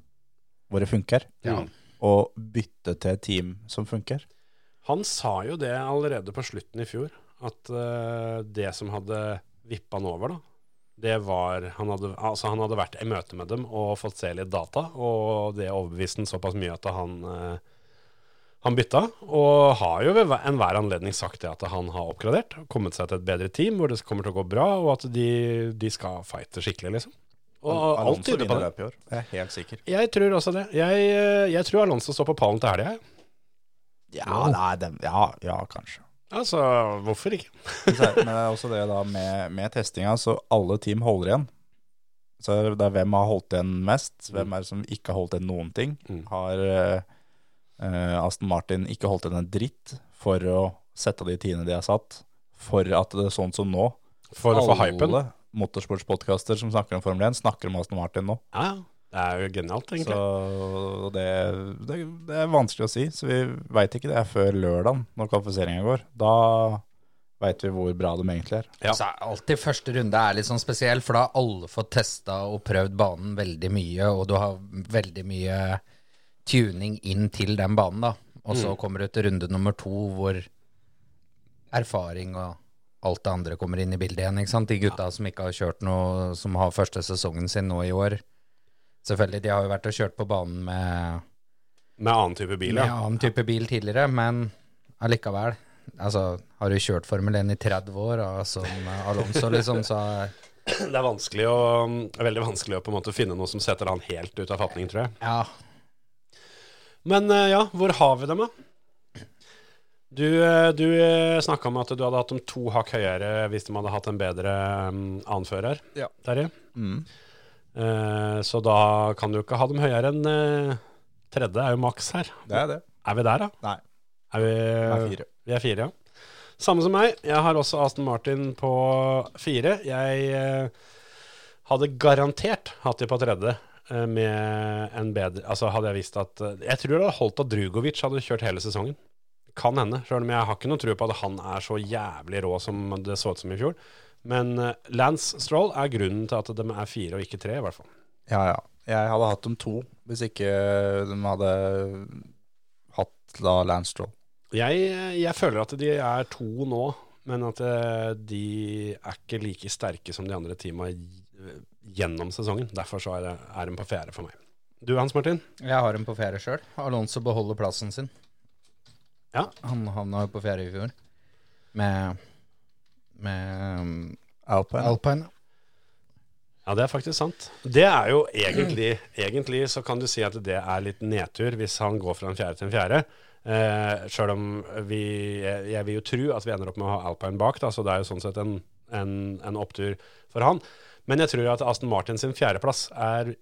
F: hvor det funker.
D: Ja.
F: Og bytte til et team som funker.
D: Han sa jo det allerede på slutten i fjor, at eh, det som hadde vippa han over, da, det var han hadde, altså han hadde vært i møte med dem og fått se litt data, og det overbeviste han såpass mye at han, eh, han bytta. Og har jo ved hver- enhver anledning sagt det at han har oppgradert, kommet seg til et bedre team hvor det kommer til å gå bra, og at de, de skal fighte skikkelig, liksom. Og alt tyder på det.
F: løpet i år. Jeg er helt sikker.
D: Jeg tror også det. Jeg, eh, jeg tror Alonso står på pallen til helga. jeg.
F: Ja, nei, dem- ja, ja kanskje.
D: Altså, hvorfor ikke?
F: Men så er- Men det er også det da med, med testinga, så alle team holder igjen. Så er det- det er hvem har holdt igjen mest, hvem er det som ikke har holdt igjen noen ting.
D: Mm.
F: Har eh, eh, Aston Martin ikke holdt igjen en dritt for å sette de tiende de har satt, for at det er sånn som nå
D: For å få hypen.
F: Alle motorsportspodkaster som snakker om Formel 1, snakker om Aston Martin nå.
D: Ja, ja. det er jo genialt, egentlig.
F: Så det, det, det er vanskelig å si. Så vi veit ikke det er før lørdag, når kvalifiseringa går. Da veit vi hvor bra de egentlig er.
D: Ja.
E: Så er alltid første runde er litt sånn spesiell, for da har alle fått testa og prøvd banen veldig mye, og du har veldig mye tuning inn til den banen, da. Og så kommer du til runde nummer to, hvor erfaring og alt det andre kommer inn i bildet igjen. ikke sant? De gutta som ikke har kjørt noe, som har første sesongen sin nå i år. Selvfølgelig, de har jo vært og kjørt på banen med,
D: Med annen type bil,
E: med
D: ja.
E: annen type bil tidligere, men allikevel. Altså, har du kjørt Formel 1 i 30 år, da, som eh, Alonso, liksom, så
D: [CLEARS THROAT] Det er vanskelig å, det er veldig vanskelig å på en måte finne noe som setter han helt ut av fatning, tror jeg.
E: Ja,
D: Men eh, ja, hvor har vi dem, da? Du, eh, du snakka om at du hadde hatt dem to hakk høyere hvis de hadde hatt en bedre mm, anfører.
F: Ja.
D: Terje.
F: Mm.
D: Eh, så da kan du ikke ha dem høyere enn eh, tredje, er jo maks her.
F: Det er det.
D: Er vi der, da?
F: Nei.
D: Er vi,
F: Det er fire.
D: Vi er fire, ja. Samme som meg. Jeg har også Aston Martin på fire. Jeg eh, hadde garantert hatt de på tredje. eh, Med en bedre Altså Hadde jeg visst at eh, Jeg tror det hadde holdt at Drugovic hadde kjørt hele sesongen. Kan hende, sjøl om jeg har ikke noe tro på at han er så jævlig rå som det så ut som i fjor. Men eh, Lance Stroll er grunnen til at de er fire og ikke tre, i hvert fall.
F: Eh, Ja, ja. Jeg hadde hatt dem to hvis ikke de hadde hatt da Landstroll.
D: Jeg, jeg føler at de er to nå, men at eh, de er ikke like sterke som de andre teama gjennom sesongen. Derfor så er, det- er de på fjerde for meg. Du, Hans Martin?
E: jeg har en på fjerde sjøl. Alonso beholder plassen sin.
D: Ja.
E: Han havna jo på fjerde i fjor med, med um,
F: Alpine.
E: alpine.
D: Ja, det er faktisk sant. Det er jo egentlig Egentlig så kan du si at det er litt nedtur hvis han går fra en fjerde til en fjerde. Eh, Sjøl om vi jeg, jeg vil jo tro at vi ender opp med å ha Alpine bak, da, så det er jo sånn sett en, en, en opptur for han. Men jeg tror at Aston Martin sin fjerdeplass er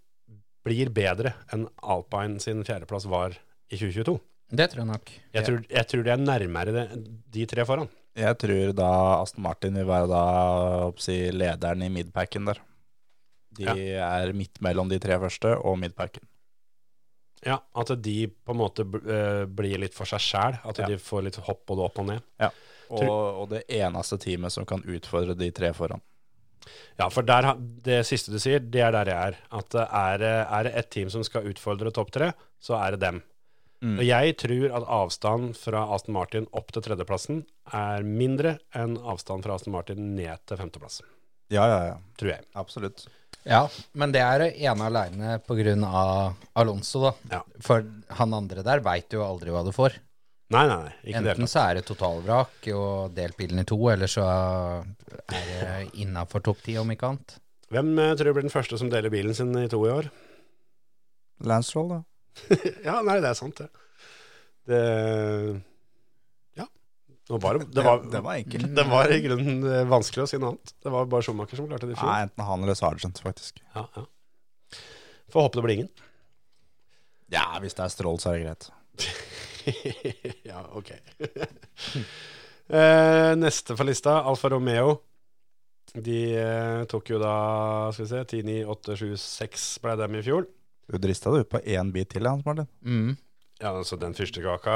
D: blir bedre enn Alpine sin fjerdeplass var i 2022.
E: Det tror jeg nok.
D: Jeg tror, jeg tror det er nærmere det, de tre foran.
F: Jeg tror da Aston Martin vil være da oppsi, lederen i midpacken der. De er midt mellom de tre første og midpacken.
D: Ja, At de på en måte bl- eh, blir litt for seg sjæl. At
F: Ja.
D: de får litt hopp både opp og ned.
F: Og, og det eneste teamet som kan utfordre de tre foran.
D: Ja, for der, ha- det siste du sier, det er der jeg er. At eh, er, det- er det ett team som skal utfordre topp tre, så er det dem.
F: Mm.
D: Og jeg tror at avstanden fra Aston Martin opp til tredjeplassen er mindre enn avstanden fra Aston Martin ned til femteplass,
F: Ja, ja, ja.
D: tror jeg.
F: Absolutt.
E: Ja, men det er ene aleine på grunn av Alonso, da.
D: Ja.
E: For han andre der veit jo aldri hva du får.
D: Nei, nei, nei ikke det.
E: Enten
D: helt.
E: så er det totalvrak og delt bilen i to, eller så er det innafor topp ti, om ikke annet.
D: Hvem eh, tror du blir den første som deler bilen sin i to i år?
F: Landstroll, da.
D: [LAUGHS] ja, nei, det er sant, det. Det Ja. Det [LAUGHS] var, det var,
F: det var Mm. enkelt.
D: det var i grunnen eh, vanskelig å si noe annet. Det var bare Schumacher som klarte det i fjor.
F: Nei, enten han eller Sargent, faktisk.
D: Ja, ja. Får håpe det [LAUGHS] blir ingen.
F: Ja, hvis det er Stroll, så er det greit.
D: ja, ok. [LAUGHS] Eh, neste på lista, Alfa Romeo. De eh, tok jo da skal vi se, 10, 9, 8, 7, 6 ble dem i fjor.
F: Du drista deg ut på én bit til, Hans Martin.
E: Mm.
D: Ja, altså den fyrstekaka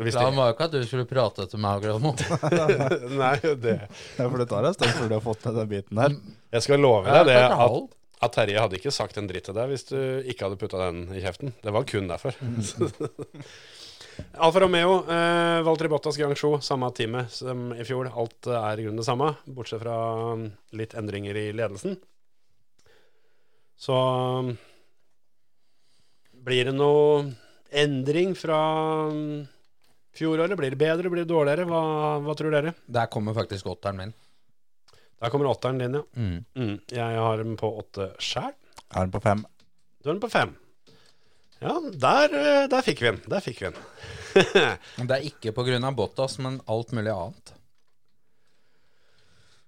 D: hvis
E: Han
D: de,
E: var jo ikke at du skulle prate til meg, Grønmo. [LAUGHS]
D: [LAUGHS] Nei, det
F: Ja, for det tar en stund før du har fått med den biten her.
D: Jeg skal love
E: Ja,
D: deg det
E: klart det
D: at,
E: holdt.
D: at Terje hadde ikke sagt en dritt til deg hvis du ikke hadde putta den i kjeften. Det var kun derfor. [LAUGHS] Alfa Romeo, eh, Valtteri Bottas Grand Show, samme teamet som i fjor. Alt eh, er i grunnen det samme, bortsett fra mm, litt endringer i ledelsen. Så mm, blir det noe endring fra mm, fjoråret? Blir det bedre, blir det dårligere? Hva, hva tror dere?
E: Der kommer faktisk åtteren min.
D: Der kommer åtteren din, ja.
E: Mm.
D: Mm, jeg har den på åtte sjæl.
F: Er den på fem?
D: Du har den på fem. Ja, der, eh, der fikk vi den. Der fikk vi den.
E: Men Det er ikke pga. Bottas, men alt mulig annet.
D: [LAUGHS]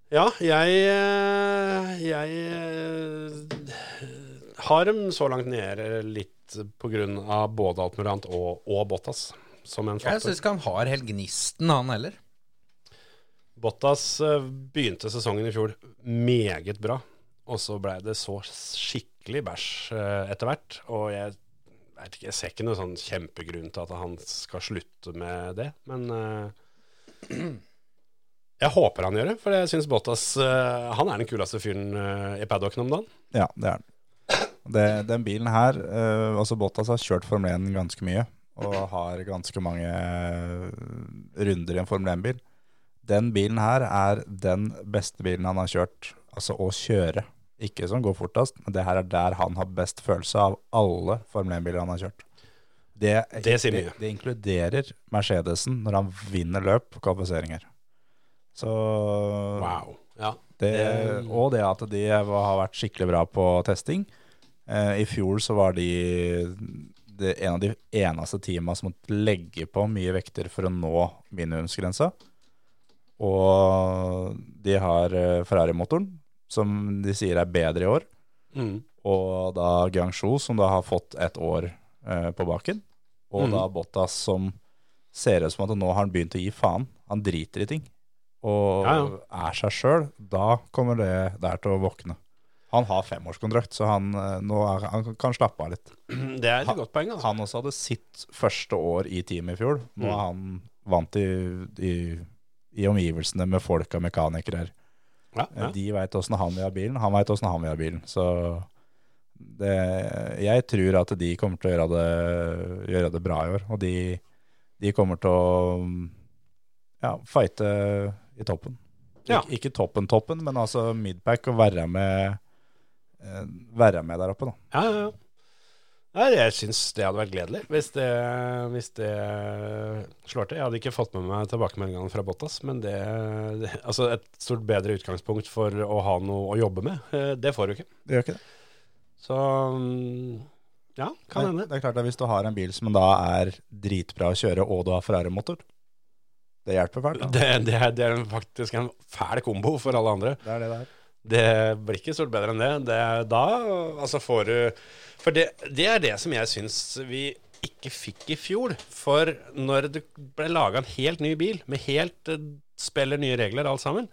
D: ja, jeg eh, Jeg eh, har dem så langt nede litt på grunn av både alt mulig annet og, og Bottas som en
E: Jeg
D: faktor.
E: syns ikke han har helt gnisten, han heller.
D: Bottas eh, begynte sesongen i fjor meget bra, og så blei det så skikkelig bæsj eh, etter hvert. Og jeg vet ikke, jeg ser ikke noen sånn kjempegrunn til at han skal slutte med det, men eh, [CLEARS THROAT] jeg håper han gjør det, for jeg syns Bottas eh, Han er den kuleste fyren eh, i paddocken om dagen.
F: Ja, det er den. Det, den bilen her, eh, altså Bottas har kjørt Formel 1 ganske mye, og har ganske mange eh, runder i en Formel 1-bil. Den bilen her er den beste bilen han har kjørt, altså å kjøre. Ikke som går fortest, men det her er der han har best følelse av alle Formel 1-biler han har kjørt. Det,
D: Det sier mye.
F: Det, det inkluderer Mercedesen når han vinner løp og kvalifiseringer. Så
D: Wow. Ja.
F: det, og det at de var- har vært skikkelig bra på testing. Eh, I fjor så var de det en av de eneste teama som måtte legge på mye vekter for å nå minimumsgrensa. Og de har eh, Ferrari-motoren, som de sier er bedre i år.
D: Mm. [CLEARS THROAT]
F: Og da Guangzhou, som da har fått et år eh, på baken. Og
D: Mhm.
F: da Bottas, som ser ut som at nå har han begynt å gi faen. Han driter i ting. Og
D: Ja, ja.
F: er seg sjøl. Da kommer det der til å våkne. Han har femårskontrakt, så han, eh, nå er, han kan slappe av litt.
D: Det er et godt poeng, altså.
F: Han også hadde sitt første år i teamet i fjor. Nå
D: Mm.
F: er han vant i, i, i omgivelsene med folk og mekanikere. her.
D: Ja, ja.
F: De veit åssen han vil ha bilen, han veit åssen han vil ha bilen. Så det, jeg tror at de kommer til å gjøre det, gjøre det bra i år. Og de, de kommer til å ja, fighte i toppen.
D: Ja.
F: Ik ikke toppen-toppen, men altså midpack og være med, eh, være med der oppe, da.
D: Ja, ja, ja. Nei, jeg syns det hadde vært gledelig hvis det, hvis det slår til. Jeg hadde ikke fått med meg tilbakemeldingene fra Bottas, men det, det Altså, et stort bedre utgangspunkt for å ha noe å jobbe med, eh, det får du ikke.
F: Det gjør ikke det.
D: Så mm, ja, kan
F: Det,
D: hende.
F: det er klart at Hvis du har en bil som da er dritbra å kjøre, og du har Ferrari-motor, det hjelper fælt. da.
D: Det, det, er, det er faktisk en fæl kombo for alle andre.
F: Det er det der.
D: Det blir ikke stort bedre enn det. det er da altså får du For det, det er det som jeg syns vi ikke fikk i fjor. For når det ble laga en helt ny bil, med helt eh, spiller nye regler alt sammen,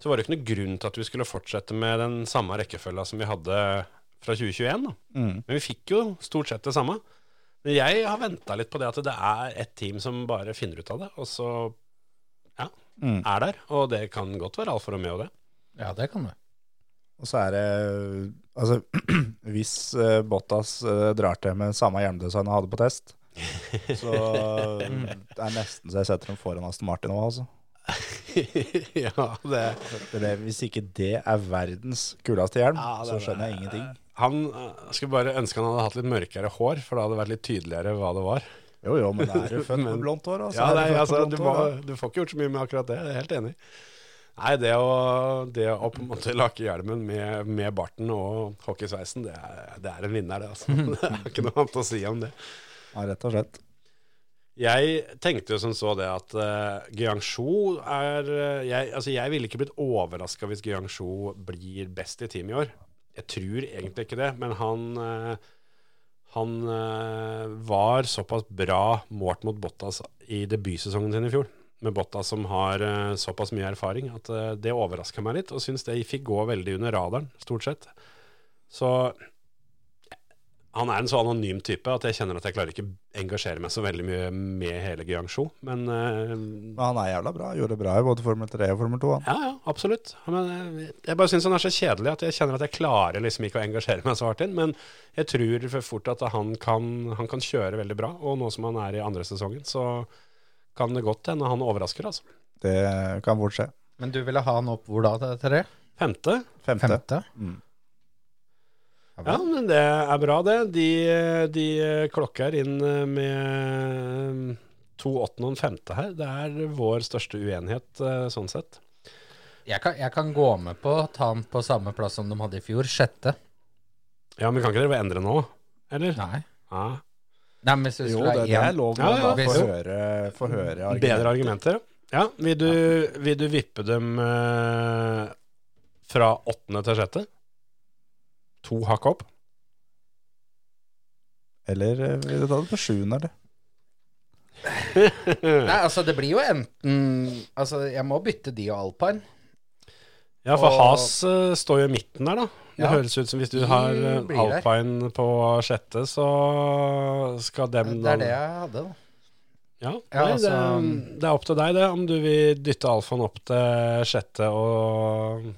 D: så var det ikke noe grunn til at vi skulle fortsette med den samme rekkefølga som vi hadde fra 2021. Da.
F: Mm.
D: Men vi fikk jo stort sett det samme. Men jeg har venta litt på det at det er ett team som bare finner ut av det, og så ja,
F: Mm.
D: er der. Og det kan godt være Alfa Romeo, det. [LAUGHS]
E: Ja, det kan du.
F: Og så er det Altså, [CLEARS THROAT] hvis eh, Bottas eh, drar til med samme hjelmdesign han hadde på
D: [LAUGHS]
F: test, så det er nesten så jeg setter dem foran Aston Martin nå, altså.
D: ja, det
F: Det, det, hvis ikke det er verdens kuleste hjelm,
D: Ja, det
F: så
D: er-
F: skjønner jeg ingenting.
D: Han eh, skulle bare ønske han hadde hatt litt mørkere hår, for da hadde det vært litt tydeligere hva det var.
F: Jo, jo, men da er [LAUGHS] du født med blondt hår, altså.
D: Ja,
F: Er
D: nei,
F: født med
D: altså,
F: blondt
D: du,
F: hår,
D: må,
F: da?
D: du får ikke gjort så mye med akkurat det, jeg er helt enig. Nei, det å, det å på en måte lake hjelmen med, med barten og hockeysveisen, det er, det er en vinner, det. altså.
F: [LAUGHS]
D: [LAUGHS] Det er ikke noe annet å si om det.
F: Ja, rett og slett.
D: Jeg tenkte jo som så det at uh, Guangzhou er eh, jeg, Altså, jeg ville ikke blitt overraska hvis Guangzhou blir best i teamet i år. Jeg tror egentlig ikke det, men han eh, Han eh, var såpass bra målt mot Bottas i debutsesongen sin i fjor. Med Bottas som har eh, såpass mye erfaring at eh, det overraska meg litt, og syns det fikk gå veldig under radaren, stort sett. Så han er en så anonym type at jeg kjenner at jeg klarer ikke engasjere meg så veldig mye med hele Guiangzhou. Men eh,
F: Men han er jævla bra. Gjorde det bra i både Formel 3 og Formel 2. Han.
D: ja, ja, absolutt. Ja, Men eh, jeg bare syns han er så kjedelig at jeg kjenner at jeg klarer liksom ikke å engasjere meg så hardt inn. Men jeg tror for fort at han kan, han kan kjøre veldig bra. Og nå som han er i andre sesongen, så kan det godt hende han overrasker, altså.
F: Det kan fort skje.
E: Men du ville ha han opp hvor da, Terje?
D: Femte.
F: Femte.
E: Femte?
F: Mm.
D: Ja, men det er bra, det. De, de klokker inn eh, med to åttende og en femte her. Det er vår største uenighet eh, sånn sett.
E: Jeg kan, jeg kan gå med på å ta han på samme plass som de hadde i fjor, sjette.
D: Ja, men kan ikke dere endre nå? Eller?
E: Nei.
D: Ja.
E: Nei, men hvis du
F: Jo,
E: skulle
F: det,
E: ha
F: det er
E: én-
F: lov
D: Ja,
F: å
D: ja.
F: få høre, få høre argument.
D: Bedre argumenter. Ja, vil du, vil du vippe dem eh, fra åttende til sjette? To hakk
E: [LAUGHS]
D: opp?
F: Eller eh, vil du ta det på sjuende, eller?
E: Nei, altså det blir jo enten Altså jeg må bytte de og alpine.
D: Ja, for
E: Og-
D: Haas eh, står jo i midten der, da. Det
E: Ja.
D: høres ut som hvis du har eh,
E: blir der.
D: alpine på sjette, så skal dem
E: Det
D: da-
E: er det jeg hadde, da.
D: Ja,
E: Ja,
D: nei, det,
E: altså-
D: det er opp til deg det, om du vil dytte alfaen opp til sjette og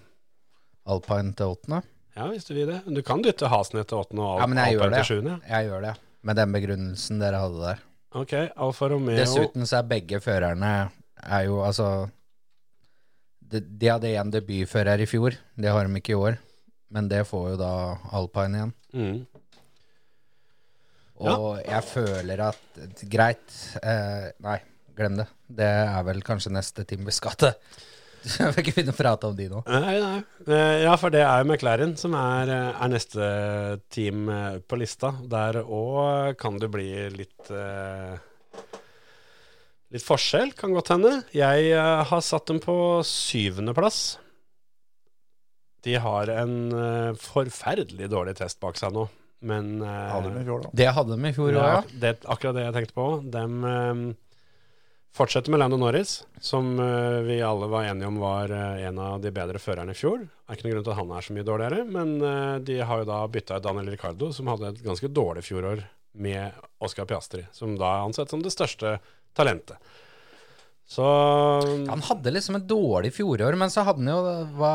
E: Alpine til åttende.
D: Ja, hvis du vil det. Du kan dytte Hasen ned til åttende og
E: Ja, men jeg
D: Alpine
E: gjør det.
D: til sjuende.
E: Jeg gjør det. Med den begrunnelsen dere hadde der.
D: Ok, Alfa Romeo
E: Dessuten så er begge førerne er jo altså De, de hadde én debutfører i fjor, det har de ikke i år. Men det får jo da alpine igjen.
D: mm.
E: Og jeg føler at Greit. Eh, nei, glem det. Det er vel kanskje neste time vi skal til. [LAUGHS] Jeg vil ikke begynne å prate om de nå.
D: Nei, nei. Eh, Ja, for det er jo McLaren som er, eh, er neste team eh, på lista. Der òg kan det bli litt eh, Litt forskjell, kan godt hende. Jeg eh, har satt dem på syvendeplass. De har en eh, forferdelig dårlig test bak seg nå, men eh,
F: Hadde de i fjor, da.
E: Det hadde de i fjor òg,
D: ja,
E: ja.
D: det er akkurat det jeg tenkte på. De fortsetter med Lando Norris, som eh, vi alle var enige om var eh, en av de bedre førerne i fjor. Det er ikke noen grunn til at han er så mye dårligere, men eh, de har jo da bytta ut Daniel Ricardo, som hadde et ganske dårlig fjorår, med Oscar Piastri, som da er ansett som det største talentet. Så
E: Han hadde liksom et dårlig fjorår, men så hadde han jo Hva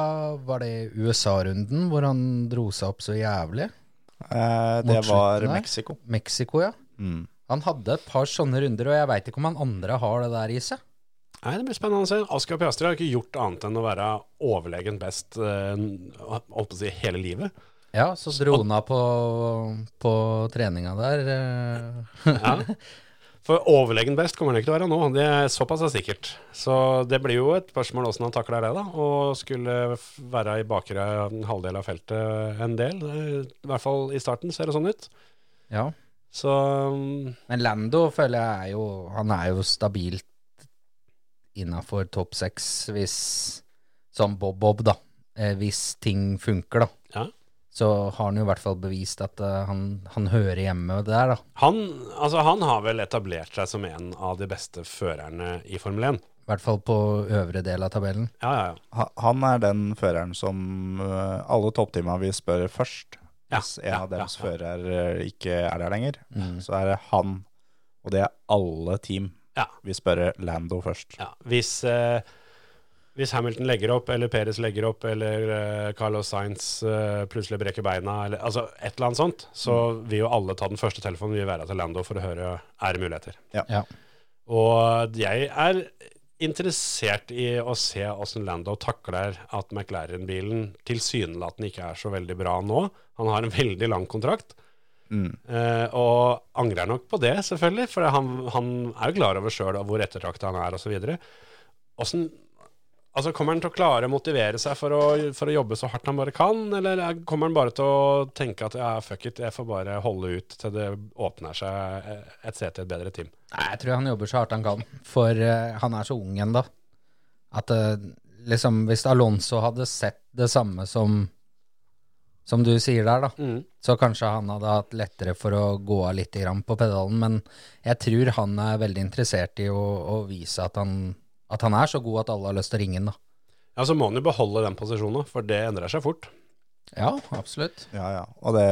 E: var det USA-runden hvor han dro seg opp så jævlig?
F: Eh, det
E: Mot slutten
F: var
E: der?
F: Mexico.
E: Mexico, ja.
F: Mm.
E: Han hadde et par sånne runder, og jeg veit ikke om han andre har det der i seg.
D: Nei, det blir spennende å se. Oscar Piastri har ikke gjort annet enn å være overlegen best eh, holdt på å si hele livet.
E: Ja, så dro han av på, på treninga der. eh.
D: Ja. For overlegen best kommer han ikke til å være nå, det er såpass er sikkert. Så det blir jo et spørsmål åssen han takler det, da. Og skulle f- være i bakre halvdel av feltet en del, eh, i hvert fall i starten, ser det sånn ut.
E: [LAUGHS] ja.
D: Så mm,
E: Men Lando føler jeg er jo Han er jo stabilt innafor topp seks hvis Som Bob-Bob, da. Eh, Hvis ting funker, da.
D: Ja.
E: Så har han jo i hvert fall bevist at eh, han, han hører hjemme der, da.
D: han, altså, han har vel etablert seg som en av de beste førerne i Formel 1.
E: I hvert fall på øvre del av tabellen.
D: Ja, ja, ja.
F: Ha- Han er den føreren som eh, alle toppteama vi spør først.
D: Ja,
F: Hvis en
D: ja,
F: av deres
D: ja,
F: fører eh, ikke er der lenger,
E: Mm.
F: så er det han. Og det er alle team.
D: Ja.
F: Vi spør Lando først.
D: ja. Hvis, eh, hvis Hamilton legger opp, eller Perez legger opp, eller eh, Carlos Sainz eh, plutselig brekker beina, eller altså et eller annet sånt, så vil jo alle ta den første telefonen vi vil være til Lando for å høre er det muligheter.
E: Ja.
D: Og jeg er interessert i å se åssen Lando takler at McLaren-bilen tilsynelatende ikke er så veldig bra nå. Han har en veldig lang kontrakt. Eh, og angrer nok på det, selvfølgelig, for han, han er jo klar over sjøl hvor ettertrakta han er, osv. Altså, kommer han til å klare å motivere seg for å, for å jobbe så hardt han bare kan, eller er- kommer han bare til å tenke at ja, fuck it, jeg får bare holde ut til det åpner seg eh, et sete i et bedre team?
E: Nei, jeg tror han jobber så hardt han kan, for eh, han er så ung ennå. At eh, liksom, hvis Alonso hadde sett det samme som Som du sier der, da, så kanskje han hadde hatt lettere for å gå av litt grann på pedalen. Men jeg tror han er veldig interessert i å, å vise at han, at han er så god at alle har lyst til å ringe han, da.
D: Ja, så må han jo beholde den posisjonen, for det endrer seg fort.
E: Ja, absolutt.
F: Ja, ja. Og det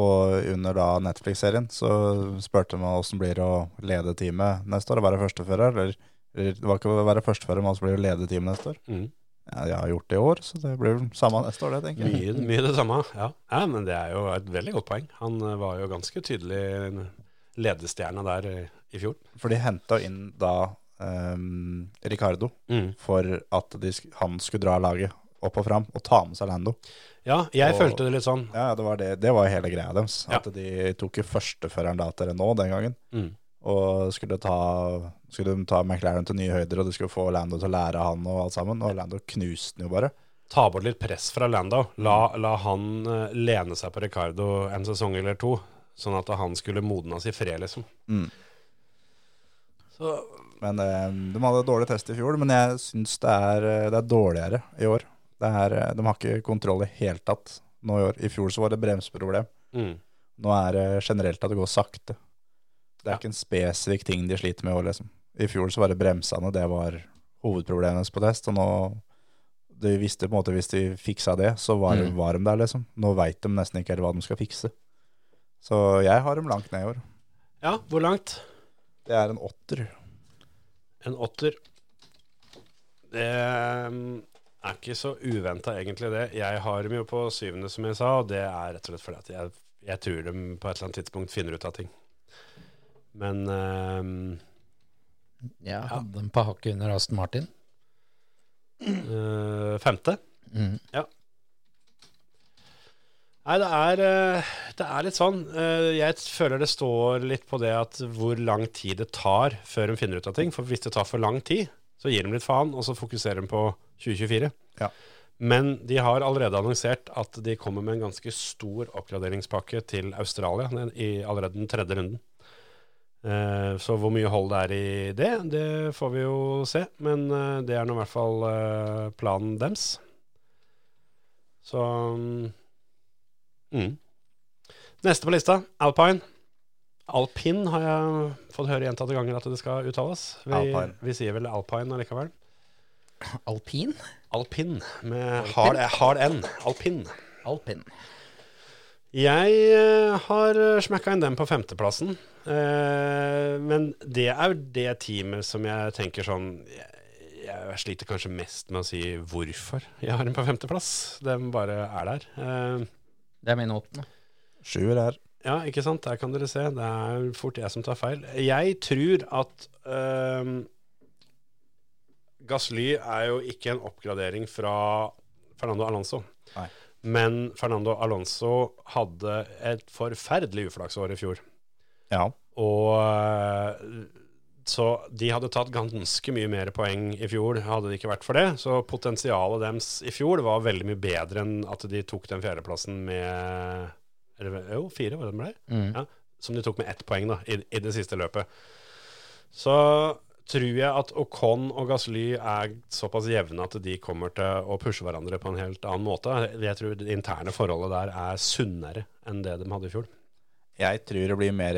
F: på, under da Netflix-serien så spurte de meg åssen blir det å lede teamet neste år og være førstefører. Eller, eller det var ikke å være førstefører, men åssen blir det å lede teamet neste år.
D: Mm.
F: Ja, jeg har gjort det i år, så det blir vel samme neste år, det, tenker jeg.
D: [LAUGHS] Mye, mye det samme. Ja. ja, men det er jo et veldig godt poeng. Han eh, var jo ganske tydelig en ledestjerne der eh, i fjor.
F: For de henta inn da ehm, Ricardo
D: Mm.
F: for at de, sk- han skulle dra laget opp og fram og ta med seg Lando.
D: Ja, jeg
F: Og-
D: følte det litt sånn.
F: Ja, det var, det, det var hele greia deres.
D: Ja.
F: At de tok jo førsteføreren da til Renault den gangen.
D: Mm.
F: Og skulle, ta, skulle de ta McLaren til nye høyder, og de skulle få Lando til å lære han og alt sammen. Og Lando knuste den jo bare.
D: Ta bort litt press fra Lando. La, la han eh, lene seg på Ricardo en sesong eller to, sånn at han skulle modnes i fred, liksom.
F: Mm.
D: Så
F: Men eh, de hadde dårlig test i fjor, men jeg syns det, er, eh, det er dårligere i år. Det er, eh, de har ikke kontroll i helt tatt nå i år. I fjor så var det bremseproblem.
D: mm.
F: Nå er det generelt at det går sakte. Det er
D: Ja.
F: ikke en spesifikk ting de sliter med i år, liksom. I fjor så var det bremsene, det var hovedproblemet deres på test, og nå de visste på en måte hvis de fiksa det, så var,
E: Mm.
F: var de der, liksom. Nå veit de nesten ikke helt hva de skal fikse. Så jeg har dem langt ned i år.
D: Ja, hvor langt?
F: Det er en åtter.
D: En åtter. Det mm, er ikke så uventa, egentlig, det. Jeg har dem jo på syvende, som jeg sa, og det er rett og slett fordi at jeg, jeg tror de på et eller annet tidspunkt finner ut av ting. Men ehm,
E: Ja, hadde den på hakket under Aston Martin.
D: eh, femte?
E: Mm.
D: Nei, det er, eh, det er litt sånn. Eh, Jeg føler det står litt på det at hvor lang tid det tar før de finner ut av ting. For hvis det tar for lang tid, så gir de litt faen, og så fokuserer de på 2024.
F: Ja.
D: Men de har allerede annonsert at de kommer med en ganske stor oppgraderingspakke til Australia den- i allerede den tredje runden. Eh, Så hvor mye hold det er i det, det får vi jo se. Men eh, det er nå i hvert fall eh, planen dems. Så mm, Mm. Neste på lista, alpine. Alpin har jeg fått høre gjentatte ganger at det skal uttales. Vi,
F: Alpine.
D: vi sier vel alpine allikevel.
E: Alpin?
D: Alpin med hard, eh, hard N. Alpin.
E: Alpin.
D: Jeg eh, har smekka inn den på femteplassen. Eh, men det er jo det teamet som jeg tenker sånn jeg, jeg sliter kanskje mest med å si hvorfor jeg har den på femteplass. Den bare er der. Eh,
E: Det er min åttende.
F: Sjuer her.
D: Ja, ikke sant? Der kan dere se. Det er fort jeg som tar feil. Jeg tror at øhm, Gasly er jo ikke en oppgradering fra Fernando Alonso.
F: Nei.
D: Men Fernando Alonso hadde et forferdelig uflaksår i fjor.
F: Ja.
D: Og øh, så de hadde tatt ganske mye mer poeng i fjor, hadde det ikke vært for det. Så potensialet deres i fjor var veldig mye bedre enn at de tok den fjerdeplassen med eller, Jo, fire var det den ble
E: Mm.
D: ja, som de tok med ett poeng da, i, i det siste løpet. Så tror jeg at Ocon og Gasly er såpass jevne at de kommer til å pushe hverandre på en helt annen måte. Jeg tror det interne forholdet der er sunnere enn det de hadde i fjor.
F: Jeg tror det blir mer,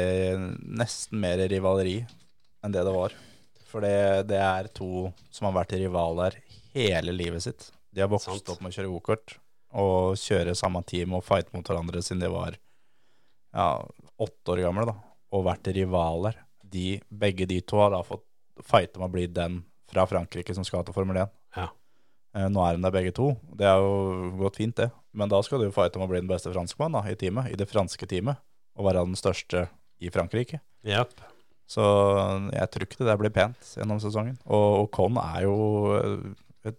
F: nesten mer rivaleri enn det det var. For det, det er to som har vært rivaler hele livet sitt. De har vokst
D: Sant.
F: opp med å kjøre gokart og kjøre samme team og fighte mot hverandre siden de var ja, åtte år gamle, da. Og vært rivaler. De, begge de to har da fått fighte med å bli den fra Frankrike som skal til Formel 1.
D: Ja.
F: Eh, Nå er de der begge to. Det er jo gått fint, det. Men da skal du jo fighte om å bli den beste franskmannen da, i teamet, i det franske teamet. Og være den største i Frankrike.
D: Yep.
F: Så jeg tror ikke det der blir pent gjennom sesongen. Og Con er jo eh, et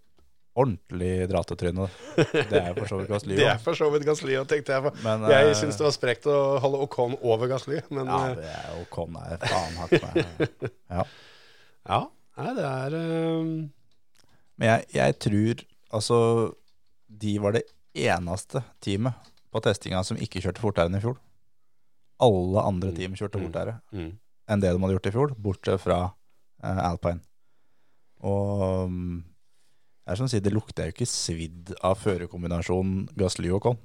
F: ordentlig dratetryne. Det er jo for så vidt Gasly
D: [LAUGHS] Det er
F: også.
D: for så vidt Gasly òg, tenkte jeg. på.
F: Men, eh,
D: Jeg syns det var sprekt å holde Ocon over Gasly, men
F: Ja,
D: eh,
F: det er jo Con er faen hakk
D: [LAUGHS]
F: meg. Ja.
D: ja. Nei, det er eh,
F: Men jeg, jeg tror altså de var det eneste teamet på testinga som ikke kjørte fortere enn i fjor. Alle andre team kjørte
D: Mm.
F: fortere
D: mm.
F: enn det de hadde gjort i fjor, bortsett fra eh, Alpine. Og mm, det er som å si, det lukter jo ikke svidd av førerkombinasjonen Gasly og Con.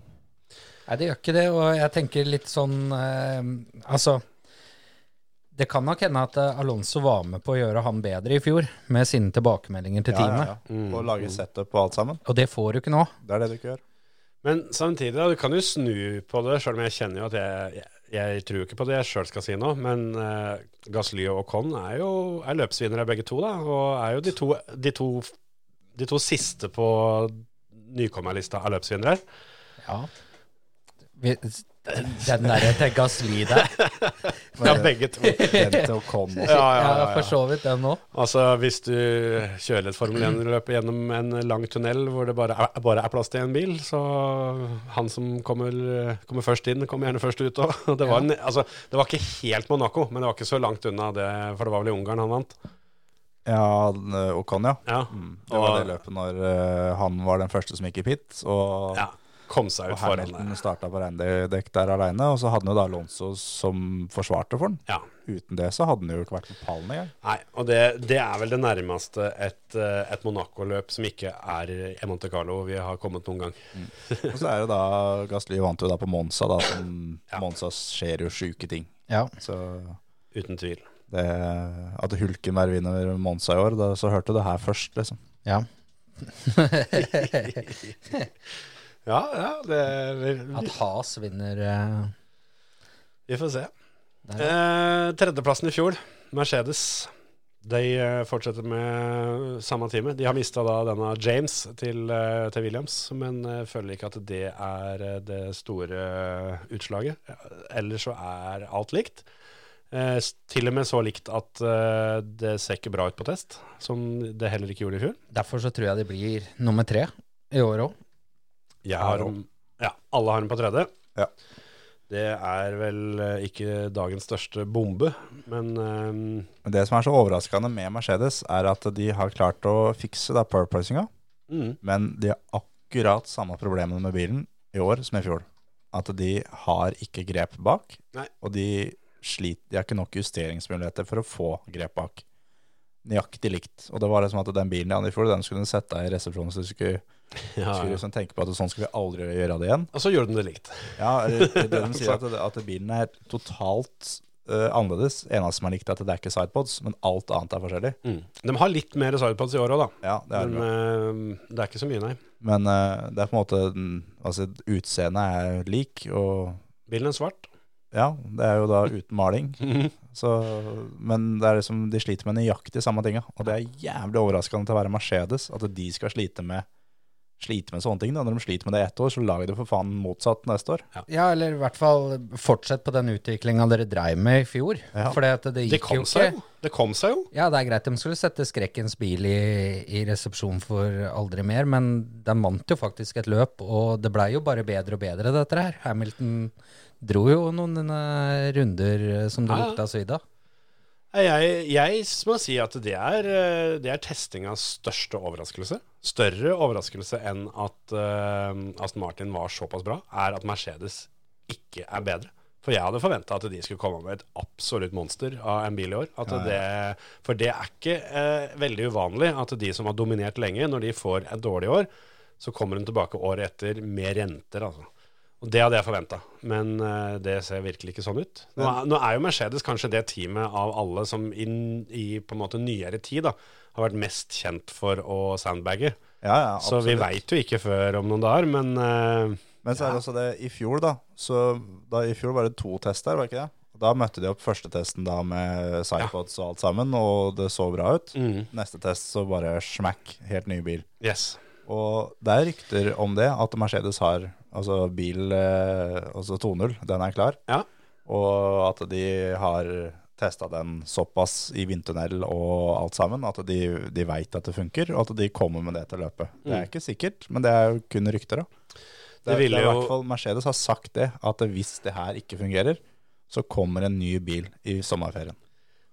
E: Nei, det gjør ikke det, og jeg tenker litt sånn eh, Altså, det kan nok hende at eh, Alonso var med på å gjøre han bedre i fjor, med sine tilbakemeldinger til teamet.
D: Mm.
F: Og lage setup og alt sammen.
E: Og det får du ikke nå.
D: [LAUGHS]
F: Det er det du ikke gjør.
D: Men samtidig, da, du kan jo snu på det, sjøl om jeg kjenner jo at jeg, jeg, jeg tror jo ikke på det jeg sjøl skal si nå. Men eh, Gasly og Con er jo er løpsvinnere begge to, da. Og er jo de to, de to, de to siste på nykommerlista av løpsvinnere.
E: Ja. Vi, den derre til Gasli der.
D: Ja, [LAUGHS] begge to.
F: Vent og kom.
E: Ja,
D: ja, ja.
E: for så vidt den òg.
D: Altså hvis du kjører et Formel 1-løp gjennom en lang tunnel hvor det bare er, bare er plass til en bil, så han som kommer, kommer først inn, kommer gjerne først ut òg. [LAUGHS] Det, var en- altså, det var ikke helt Monaco, men det var ikke så langt unna det, for det var vel i Ungarn han vant.
F: Ja, eh, og kan, ja.
D: Ja,
F: Mm. Det var det løpet når eh, han var den første som gikk i pit, og,
D: ja kom seg
F: og
D: ut foran
F: Hamilton
D: der.
F: starta på regndekk der aleine. Og så hadde han jo da Alonso som forsvarte for han.
D: Ja.
F: Uten det så hadde han jo ikke vært på pallen engang.
D: Nei, og det, det er vel det nærmeste et, eh, et Monaco-løp som ikke er i Monte Carlo vi har kommet noen gang.
F: Og så er det da Gasly vant jo da på Monza, da, som
D: Ja.
F: Monza skjer jo sjuke ting.
E: Ja.
F: Så
D: Uten tvil.
F: det, at Hulkenberg vinner Monza i år, da, så hørte du det her først, liksom.
E: ja.
D: Ja, ja, det, vi,
E: At Has vinner eh,
D: vi får se.
E: der.
D: Eh, tredjeplassen i fjor, Mercedes. De eh, fortsetter med eh, samme time. De har mista da denne James til, eh, til Williams, men eh, føler ikke at det er eh, det store utslaget. Eh, Ellers så er alt likt. Eh, s- til og med så likt at eh, det ser ikke bra ut på test, som det heller ikke gjorde i fjor.
E: Derfor så tror jeg det blir nummer tre i år òg.
D: Jeg har dem, ja, alle har dem på tredje.
F: Ja.
D: Det er vel eh, ikke dagens største bombe, men eh,
F: Men det som er så overraskende med Mercedes, er at de har klart å fikse da purposinga,
D: mm,
F: men de har akkurat samme problemene med bilen i år som i fjor. At de har ikke grep bak,
D: Nei.
F: og de sliter, de har ikke nok justeringsmuligheter for å få grep bak. Nøyaktig likt. Og det var liksom at den bilen de hadde i fjor, den skulle du sette deg i resepsjonen, så du skulle,
D: ja,
F: skulle
D: ja.
F: liksom tenke på at sånn skulle vi aldri gjøre det igjen.
D: Og så gjorde den det likt.
F: Ja, det er det de
D: [LAUGHS]
F: sier at, at bilen er totalt eh, annerledes. Eneste som er likt, er at det er ikke sidepods, men alt annet er forskjellig.
E: Mm.
D: De har litt mer sidepods i år òg, da.
F: Ja, det er det.
D: Men eh, det er ikke så mye, nei.
F: Men eh, det er på en måte den- Altså, utseendet er lik, og
D: Bilen er svart.
F: ja, det er jo
D: [LAUGHS]
F: da uten maling. Så, men det er liksom, de sliter med nøyaktig samme tinga. Og det er jævlig overraskende til å være Mercedes at de skal slite med Slite med sånne ting. da Når de sliter med det ett år, så lag det for faen motsatt neste år.
E: Ja, eller i hvert fall fortsett på den utviklinga dere dreiv med i fjor.
F: Ja.
E: For det
D: Det
E: gikk jo
D: kom seg
E: ikke.
D: jo. Det kom seg jo.
E: Ja, det er greit de skulle sette skrekkens bil i, i resepsjon for aldri mer, men de vant jo faktisk et løp, og det blei jo bare bedre og bedre, dette her. Hamilton dro jo noen eh, runder eh, som det
D: Ja, ja.
E: lukta svidd av.
D: Nei, Jeg, jeg må si at det er, eh, det er testingas største overraskelse. Større overraskelse enn at eh, Aston Martin var såpass bra, er at Mercedes ikke er bedre. For jeg hadde forventa at de skulle komme med et absolutt monster av en bil i år. At det, for det er ikke eh, veldig uvanlig at de som har dominert lenge, når de får et dårlig år, så kommer de tilbake året etter med renter, altså. Og Det hadde jeg forventa, men eh, det ser virkelig ikke sånn ut. Nå er, nå er jo Mercedes kanskje det teamet av alle som i, n- i på en måte nyere tid da, har vært mest kjent for å sandbagge.
F: Ja, ja,
D: Så vi
F: absolutt.
D: veit jo ikke før om noen dager, men eh,
F: Men så er det også det i fjor, da. Så da, I fjor var det to tester, var det ikke det? Og Da møtte de opp første testen da med Cypods og alt sammen, og det så bra ut.
D: Mm.
F: Neste test så bare smack, helt ny bil.
D: yes.
F: Og det er rykter om det, at Mercedes har altså bil eh, altså 2.0, den er klar.
D: Ja.
F: Og at de har testa den såpass i vindtunnel og alt sammen, at de, de veit at det funker, og at de kommer med det til løpet. Det er ikke sikkert, men det er jo kun rykter, da. Det,
D: Mm. Det
F: er-
D: ville
F: det er i
D: jo-
F: hvert fall Mercedes har sagt det, at hvis det her ikke fungerer, så kommer en ny bil i sommerferien.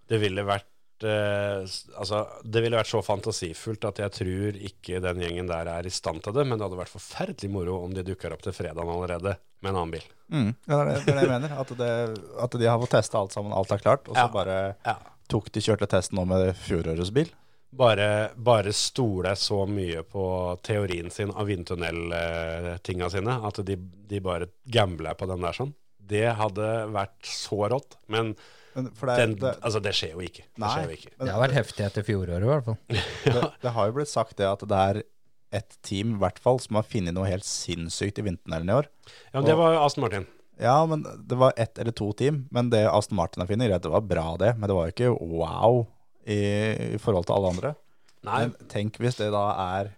D: Det ville vært eh, s- Altså, det ville vært så fantasifullt at jeg tror ikke den gjengen der er i stand til det, men det hadde vært forferdelig moro om de dukker opp til fredagen allerede med en annen bil.
F: Ja, det er det, det, er det jeg mener. At, det, at de har fått testa alt sammen, alt er klart, og så
D: Ja.
F: bare
D: Ja.
F: tok de kjørte testen nå med fjorårets bil.
D: bare, bare stole så mye på teorien sin av vindtunnel-tinga sine, at de, de bare gambla på den der sånn. Det hadde vært så rått, men
F: Men for det, er-
D: den,
F: det,
D: altså, det skjer jo ikke. Det
F: nei,
D: skjer jo ikke.
F: men
E: Det har vært heftig etter fjoråret, i hvert fall.
F: det, det har jo blitt sagt det at det er ett team i hvert fall som har funnet noe helt sinnssykt i vintertunnelen i år.
D: Ja, men det var Aston Martin.
F: Ja, men det var ett eller to team. Men det Aston Martin har funnet, det var bra, det. Men det var jo ikke wow i, i forhold til alle andre.
D: Nei.
F: Men tenk hvis det da er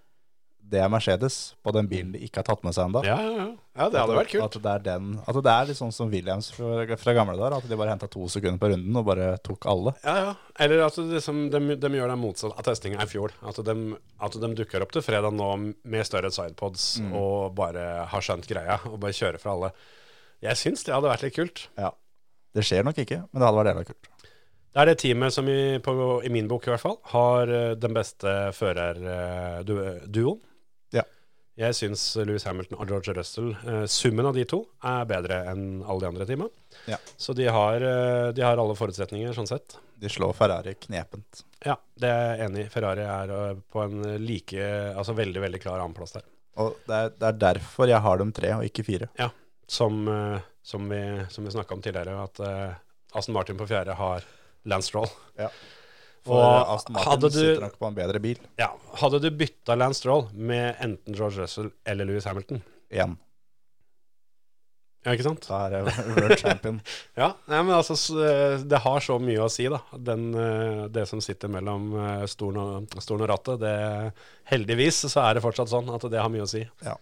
F: det er Mercedes på den bilen de ikke har tatt med seg ennå.
D: Ja, ja, ja. ja, det hadde vært kult.
F: At det er, den, at det er litt sånn som Williams fra, fra gamle dager. At de bare henta to sekunder på runden og bare tok alle.
D: Ja, ja. Eller at de, liksom, de, de gjør det motsatt av testinga i fjor. At de, at de dukker opp til fredag nå med større sidepods
F: Mm.
D: og bare har skjønt greia og bare kjører for alle. Jeg syns det hadde vært litt kult.
F: Ja. Det skjer nok ikke, men det hadde vært jævla kult.
D: Det er det teamet som i, på, i min bok i hvert fall har eh, den beste eh, førerduoen.
F: Ja.
D: Jeg syns Louis Hamilton og George Russell, eh, summen av de to, er bedre enn alle de andre teama.
F: Ja.
D: Så de har, eh, de har alle forutsetninger, sånn sett.
F: De slår Ferrari knepent.
D: Ja, det er jeg enig i. Ferrari er ø, på en like, altså veldig, veldig klar annenplass der.
F: Og det er, det er derfor jeg har dem tre og ikke fire.
D: Ja, som, ø, som vi, som vi snakka om tidligere, at ø, Aston Martin på fjerde har Lance Stroll.
F: Ja. For
D: Og
F: Aston Martin
D: hadde
F: sitter
D: du,
F: nok på en bedre bil.
D: ja, hadde du bytta Lance Stroll med enten George Russell eller Louis Hamilton,
F: Igjen.
D: ja, ikke sant?
F: Da er jeg [LAUGHS] world champion.
D: Ja, nei, men altså, s- det har så mye å si, da. Den, eh, det som sitter mellom eh, stolen og, stolen og rattet, det, heldigvis så er det fortsatt sånn at det har mye å si.
F: Ja.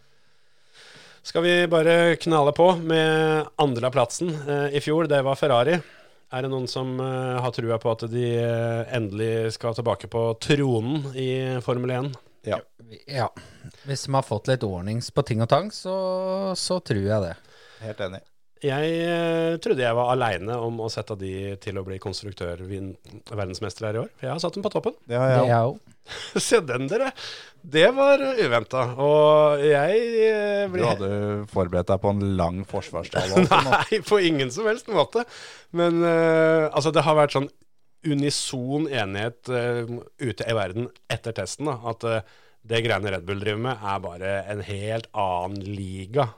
D: Skal vi bare knale på med andreplassen eh, i fjor, det var Ferrari. Er det noen som eh, har trua på at de eh, endelig skal tilbake på tronen i Formel 1?
F: Ja.
E: Ja. Hvis de har fått litt ordnings på ting og tang, så, så tror jeg det.
F: Helt enig.
D: Jeg eh, trodde jeg var aleine om å sette de til å bli konstruktør-verdensmester her i år, for jeg har satt dem på toppen.
F: Det har
E: Det
F: jeg
E: er
F: òg.
E: jo
D: [LAUGHS] Se den, dere. Det var uventa. Og jeg eh,
F: Du
D: ble [LAUGHS]
F: hadde forberedt deg på en lang forsvarstale. også nå.
D: Nei, på ingen som helst måte. Men eh, altså, det har vært sånn unison enighet eh, ute i verden etter testen da, at eh, det greiene Red Bull driver med, er bare en helt annen liga.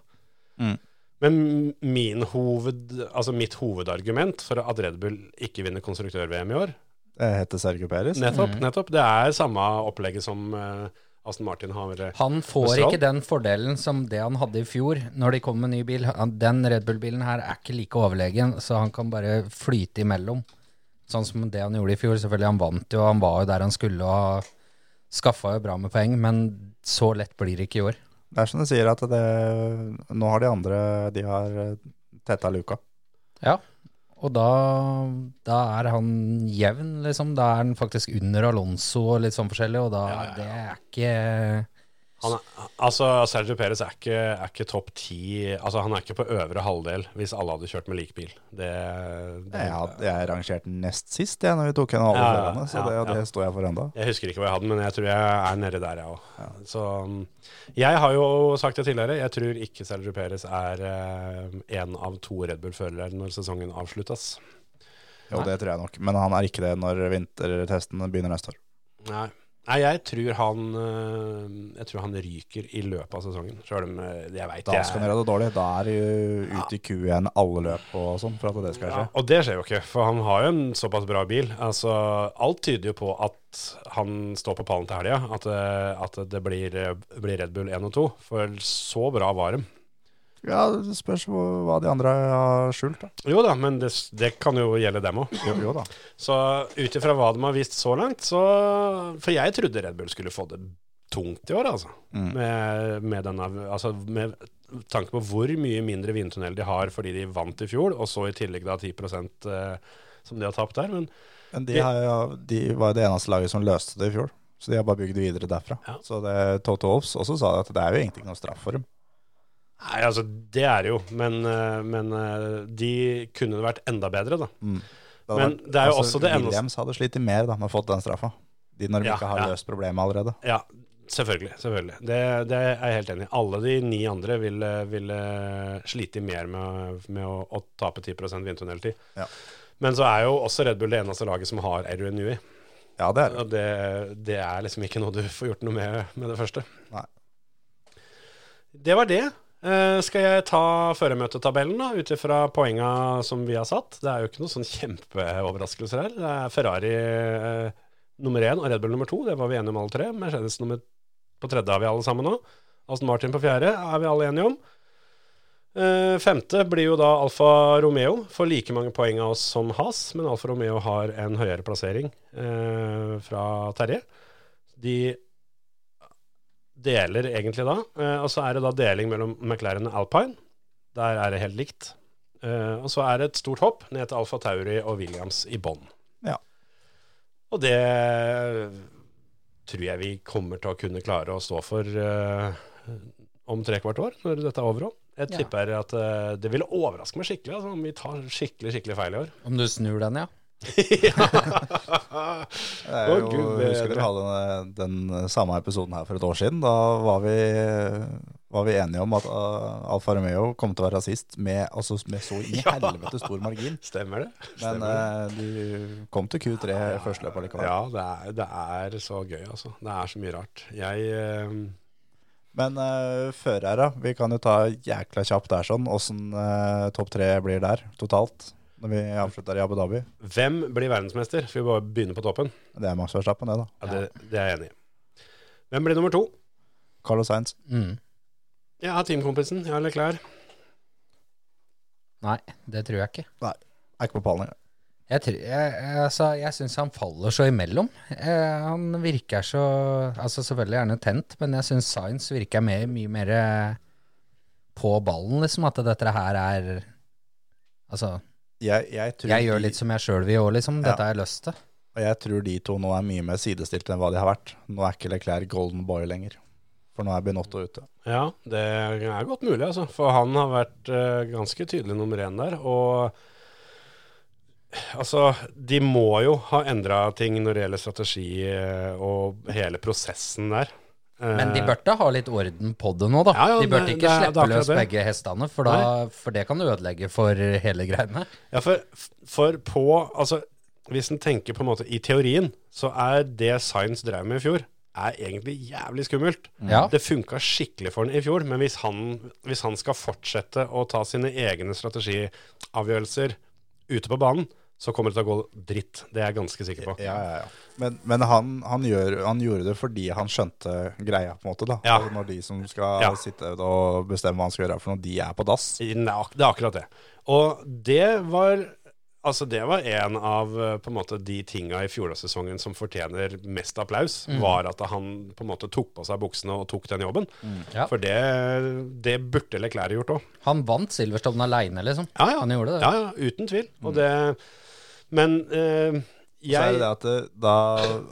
F: Mm.
D: Men min hoved, altså mitt hovedargument for at Red Bull ikke vinner konstruktør-VM i år,
F: Jeg heter Sergio Perez.
D: nettopp, nettopp det er samme opplegget som eh, Aston Martin har. eh,
E: Han
D: Med
E: får
D: Stroll?
E: ikke den fordelen som det han hadde i fjor, når de kom med ny bil. Han- Den Red Bull-bilen her er ikke like overlegen, så han kan bare flyte imellom. Sånn som det han gjorde i fjor. Selvfølgelig, han vant jo, han var jo der han skulle og skaffa jo bra med poeng, men så lett blir det ikke i år.
F: Det er som du sier, at det, nå har de andre De har tetta luka.
E: Ja, og da, da er han jevn, liksom. Da er han faktisk under Alonso og litt sånn forskjellig, og da det er ikke
D: Han er, altså, Sergio Perez er ikke, er ikke topp ti altså, Han er ikke på øvre halvdel hvis alle hadde kjørt med lik bil. Det, det,
F: Jeg, had- jeg rangerte den nest sist jeg, når vi tok henne alle
D: Ja, ja,
F: førerne, så
D: ja,
F: det,
D: ja.
F: det står jeg for ennå.
D: Jeg husker ikke hva jeg hadde, men jeg tror jeg er nedi der, jeg òg. Så um, jeg har jo sagt det tidligere, jeg tror ikke Sergio Perez er én av to Red Bull-førere når sesongen avsluttes.
F: Jo, det tror jeg nok. Men han er ikke det når vintertesten begynner neste år.
D: Nei. Nei, jeg tror han eh, Jeg tror han ryker i løpet av sesongen, sjøl om eh, jeg veit
F: Da skal han gjøre det dårlig. Da er det jo ute i Q1 alle løp og sånn, for at det skal
D: Ja,
F: skje.
D: og det skjer jo ikke, for han har jo en såpass bra bil. Altså, alt tyder jo på at han står på pallen til helga, at, eh, at det blir, eh, blir Red Bull 1 og 2. For så bra var de.
F: Ja, det spørs hvor- hva de andre har skjult, da.
D: Jo da, men det, det kan jo gjelde dem òg.
F: Jo, jo da.
D: Så ut ifra hva de har vist så langt, så For jeg trodde Red Bull skulle få det tungt i år, altså.
F: Mm.
D: Med, med, denne, altså, med tanke på hvor mye mindre vindtunnel de har fordi de vant i fjor, og så i tillegg da 10 eh, som de har tapt der. Men
F: Men de,
D: Det-
F: har, jo- de var jo det eneste laget som løste det i fjor. Så de har bare bygd videre derfra.
D: Ja.
F: Så det, Toto Wolffs også sa at det er jo egentlig ikke noe straff for dem.
D: Nei, altså, det er det jo, men, eh, men eh, de kunne vært enda bedre, da.
F: Mm. hadde
D: Men det er
F: altså,
D: jo også det eneste-
F: Williams hadde slitt mer da, med å fått den straffa. De når de
D: Ja,
F: ikke har
D: ja.
F: løst problemet allerede.
D: Ja, selvfølgelig. selvfølgelig. Det, det er jeg helt enig i. Alle de ni andre ville, ville slite mer med, med å, å tape 10 vindtunneltid.
F: Ja.
D: Men så er jo også Red Bull det eneste laget som har Eru Nui.
F: Ja, det er det.
D: Og det, det er liksom ikke noe du får gjort noe med med det første.
F: Nei.
D: Det var det. Eh, skal jeg ta førermøtetabellen da, ut ifra poenga som vi har satt? Det er jo ikke noen sånn kjempeoverraskelser her. Det er Ferrari eh, nummer én og Red Bull nummer to, det var vi enige om alle tre. Mercedes nummer På tredje er vi alle sammen nå. Aston Martin på fjerde er vi alle enige om. Eh, femte blir jo da Alfa Romeo. Får like mange poeng av oss som Has, men Alfa Romeo har en høyere plassering eh, fra Terje. De deler egentlig da. Eh, og så er det da deling mellom McLaren og Alpine. Der er det helt likt. Eh, og så er det et stort hopp ned til Alfa Tauri og Williams i bånn.
F: Ja.
D: Og det tror jeg vi kommer til å kunne klare å stå for eh, om trekvart år, når dette er over òg. Jeg
E: Ja.
D: tipper at eh, det ville overraske meg skikkelig altså, om vi tar skikkelig skikkelig feil i år.
E: Om du snur den, ja.
D: [LAUGHS]
F: Det er
D: Å,
F: jo,
D: Gud
F: jeg husker
D: bedre.
F: dere hadde den, den samme episoden her for et år siden. Da var vi, var vi enige om at uh, Alfa Romeo kom til å være rasist med, altså, med så
D: [LAUGHS]
F: i helvete stor margin.
D: Stemmer det?
F: Men
D: Stemmer det.
F: eh, de kom til Q3 første løpet likevel.
D: Ja, det er, det er så gøy, altså. Det er så mye rart. Jeg eh,
F: Men uh, førere, vi kan jo ta jækla kjapt der sånn, åssen eh, topp tre blir der totalt. Når vi avslutter i Abu Dhabi.
D: Hvem blir verdensmester? Skal vi bare begynne på toppen?
F: Det er Max Verstappen, det, da.
D: Ja, det, det er jeg enig i. Hvem blir nummer to?
F: Carlos Sainz.
E: Mm.
D: Jeg er teamkompisen. Jeg er Leclerc.
E: Nei, det tror jeg ikke.
F: Er ikke på pallen engang.
E: Jeg, tror- jeg, jeg- altså, jeg syns han faller så imellom. Eh, han virker så Altså, selvfølgelig er han jo tent, men jeg syns Science virker mer, mye mer eh, på ballen, liksom. At dette her er Altså,
F: Jeg, jeg, tror
E: jeg gjør
F: de-
E: litt som jeg sjøl vil òg, liksom. Dette har jeg lyst til.
F: Og jeg tror de to nå er mye mer sidestilte enn hva de har vært. Nå er ikke Leclerc golden boy lenger. For nå er Benotto ute.
D: Ja, det er godt mulig, altså. For han har vært eh, ganske tydelig nummer én der. Og altså, de må jo ha endra ting når det gjelder strategi eh, og hele prosessen der. Eh,
E: Men de burde ha litt orden på det nå, da.
D: Ja, ja,
E: de burde
D: det-
E: ikke
D: det er- det er
E: slippe
D: akkurat
E: løs
D: det.
E: begge hestene, for, da, for det kan ødelegge for hele greiene.
D: Ja, for, for på Altså, hvis en tenker på en måte i teorien, så er det Science drev med i fjor, er egentlig jævlig skummelt.
E: Ja.
D: Det funka skikkelig for han i fjor, men hvis han, hvis han skal fortsette å ta sine egne strategiavgjørelser ute på banen, så kommer det til å gå dritt. Det er jeg ganske sikker på.
F: Ja, ja, ja. Men, men han, han, gjør, han gjorde det fordi han skjønte greia, på en måte. da.
D: Ja.
F: Altså, Når de som skal
D: Ja.
F: sitte og bestemme hva han skal gjøre for noe, de er på dass.
D: Det er ak- det er akkurat det. Og det var Altså Det var en av eh, på en måte, de tinga i fjorårssesongen som fortjener mest applaus, var at han på en måte tok på seg buksene og tok den jobben.
E: Ja.
D: For det, det burde Leclerc gjort òg.
E: Han vant Silverstone aleine, liksom.
D: Ja, ja.
E: Han gjorde det.
D: Ja, ja, uten tvil. Og det, men eh,
F: Så er det
D: jeg
F: det at det, da,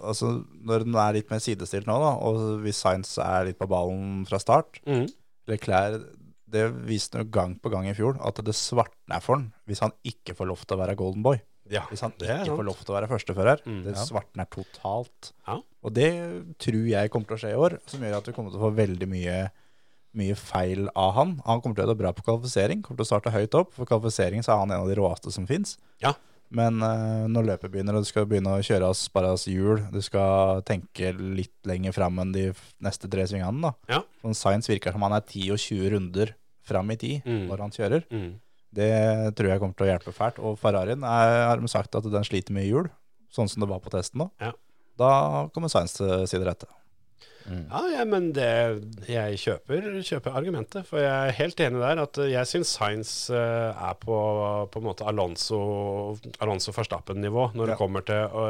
F: altså, Når den er litt mer sidestilt nå, da, og hvis Sainz er litt på ballen fra start
D: Mhm.
F: Leclerc det viste han jo gang på gang i fjor, at det svartner for han hvis han ikke får lov til å være golden boy.
D: ja,
F: Hvis han
D: det er
F: ikke
D: sant. Mm.
F: får lov til å være førstefører. det
E: ja.
F: svartner totalt.
D: Ja.
F: Og det tror jeg kommer til å skje i år, som gjør at vi kommer til å få veldig mye, mye feil av han. Han kommer til å gjøre det bra på kvalifisering, kommer til å starte høyt opp. For kvalifisering så er han en av de råeste som fins.
D: Ja.
F: Men eh, når løpet begynner, og du skal begynne å kjøre av sparras hjul, du skal tenke litt lenger fram enn de f- neste tre svingene, da.
D: Ja.
F: Sånn Science virker som han er 10 og 20 runder fram i tid
D: Mm.
F: når han kjører.
D: Mm.
F: Det tror jeg kommer til å hjelpe fælt. Og Ferrarien er, har de sagt at den sliter mye hjul, sånn som det var på testen nå.
D: Ja.
F: Da kommer Sainz til side rette.
D: Ja, ja, men det, jeg kjøper, kjøper argumentet, for jeg er helt enig der at eh, jeg syns Science eh, er på, på en måte Alonso, Alonso Verstappen-nivå
F: Ja.
D: når det kommer til å,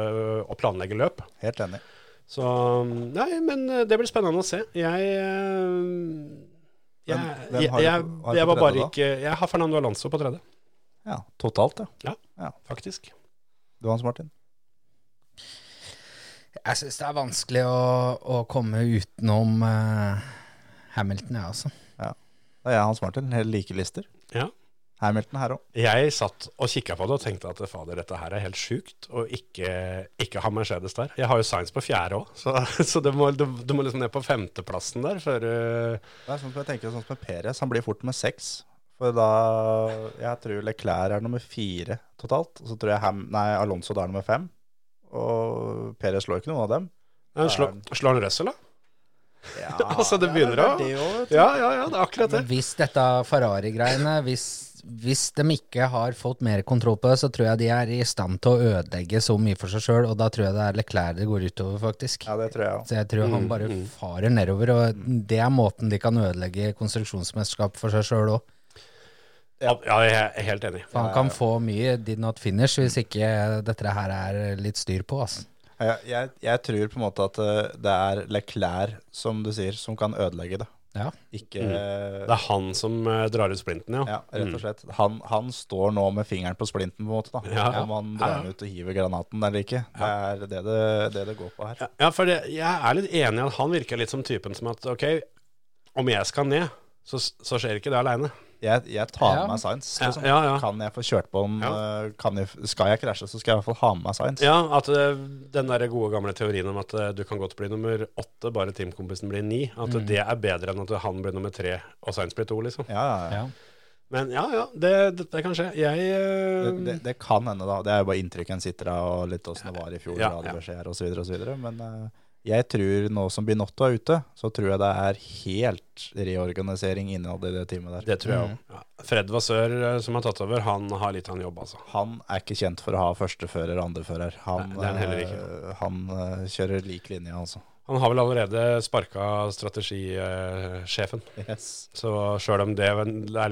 D: å planlegge løp.
F: Helt enig.
D: Så Nei, men eh, det blir spennende å se. Jeg eh, jeg,
F: Hvem-
D: jeg,
F: hvem har du
D: jeg, jeg,
F: på- har du på
D: var bare
F: tredje, da?
D: ikke Jeg har Fernando Alonso på tredje,
F: Ja, totalt, ja.
D: faktisk.
F: Du Hans Martin.
E: Jeg syns det er vanskelig å, å komme utenom eh, Hamilton, jeg, ja, altså.
F: Da er jeg Hans Martin, helt like lister.
D: Ja.
F: Hamilton her òg.
D: Jeg satt og kikka på det og tenkte at fader, dette her er helt sjukt å ikke, ikke ha Mercedes der. Jeg har jo Science på fjerde òg, så, [LAUGHS] så det må, du, du må liksom ned på femteplassen der før eh,
F: Det er sånn som jeg tenker sånn som med Perez, han blir fort med seks. For da Jeg tror Leclerc er nummer fire totalt. Og så tror jeg Ham, nei, Alonso da er nummer fem. Og Perez slår ikke noen av dem.
D: eh, slå, Slår han Russell, da?
F: Ja,
D: [LAUGHS] Altså, det begynner å
F: det er det også, vet du.
D: Ja, ja, ja, det er akkurat det.
E: Men hvis dette Ferrari-greiene Hvis hvis de ikke har fått mer kontroll på det, så tror jeg de er i stand til å ødelegge så mye for seg sjøl, og da tror jeg det er Leclerc det går utover, faktisk.
F: Ja, det tror jeg òg.
E: Så jeg tror han bare farer nedover, og det er måten de kan ødelegge konstruksjonsmesterskap for seg sjøl òg.
D: Ja, ja, jeg er helt enig.
E: For han kan få mye did not finish hvis ikke dette her er litt styr på, altså.
F: Jeg, jeg, jeg tror på en måte at eh, det er Leclerc, som du sier, som kan ødelegge det.
E: Ja.
F: Ikke eh,
D: Det er han som eh, drar ut splinten, ja.
F: Ja, rett og slett. Han, han står nå med fingeren på splinten, på en måte. da.
D: Ja.
F: Om han drar den ut og hiver granaten eller ikke. Det er det det, det, det går på her.
D: Ja, ja for det, jeg er litt enig i at han virker litt som typen som at ok, om jeg skal ned, så, så skjer ikke det aleine.
F: Jeg, jeg tar
E: Ja.
F: med meg science.
D: Ja,
F: Liksom.
D: ja, ja.
F: Kan jeg få kjørt på den?
D: Ja.
F: eh, Kan jeg, skal jeg krasje, så skal jeg i hvert fall ha med meg science.
D: Ja, at eh, den der gode gamle teorien om at eh, du kan godt bli nummer åtte, bare teamkompisen blir ni, at
F: Mm.
D: det er bedre enn at han blir nummer tre og Sainz blir to, liksom.
F: Ja, ja, ja.
E: Ja.
D: Men ja, ja, det, det, det kan skje. Jeg eh,
F: Det, det, det kan hende, da. Det er jo bare inntrykk en sitter av, og litt åssen det var i fjor,
D: Ja, ja.
F: radiobeskjeder osv. osv. Men eh, jeg tror nå som Binotto er ute, så tror jeg det er helt reorganisering innad i det teamet der.
D: Det tror jeg òg. Ja. Fred Vasør, eh, som har tatt over, han har litt av en jobb, altså.
F: Han er ikke kjent for å ha førstefører og andrefører. Han,
D: Nei, det er han heller
F: eh, han eh, kjører lik linje, altså.
D: Han har vel allerede sparka strategisjefen. Så sjøl om det er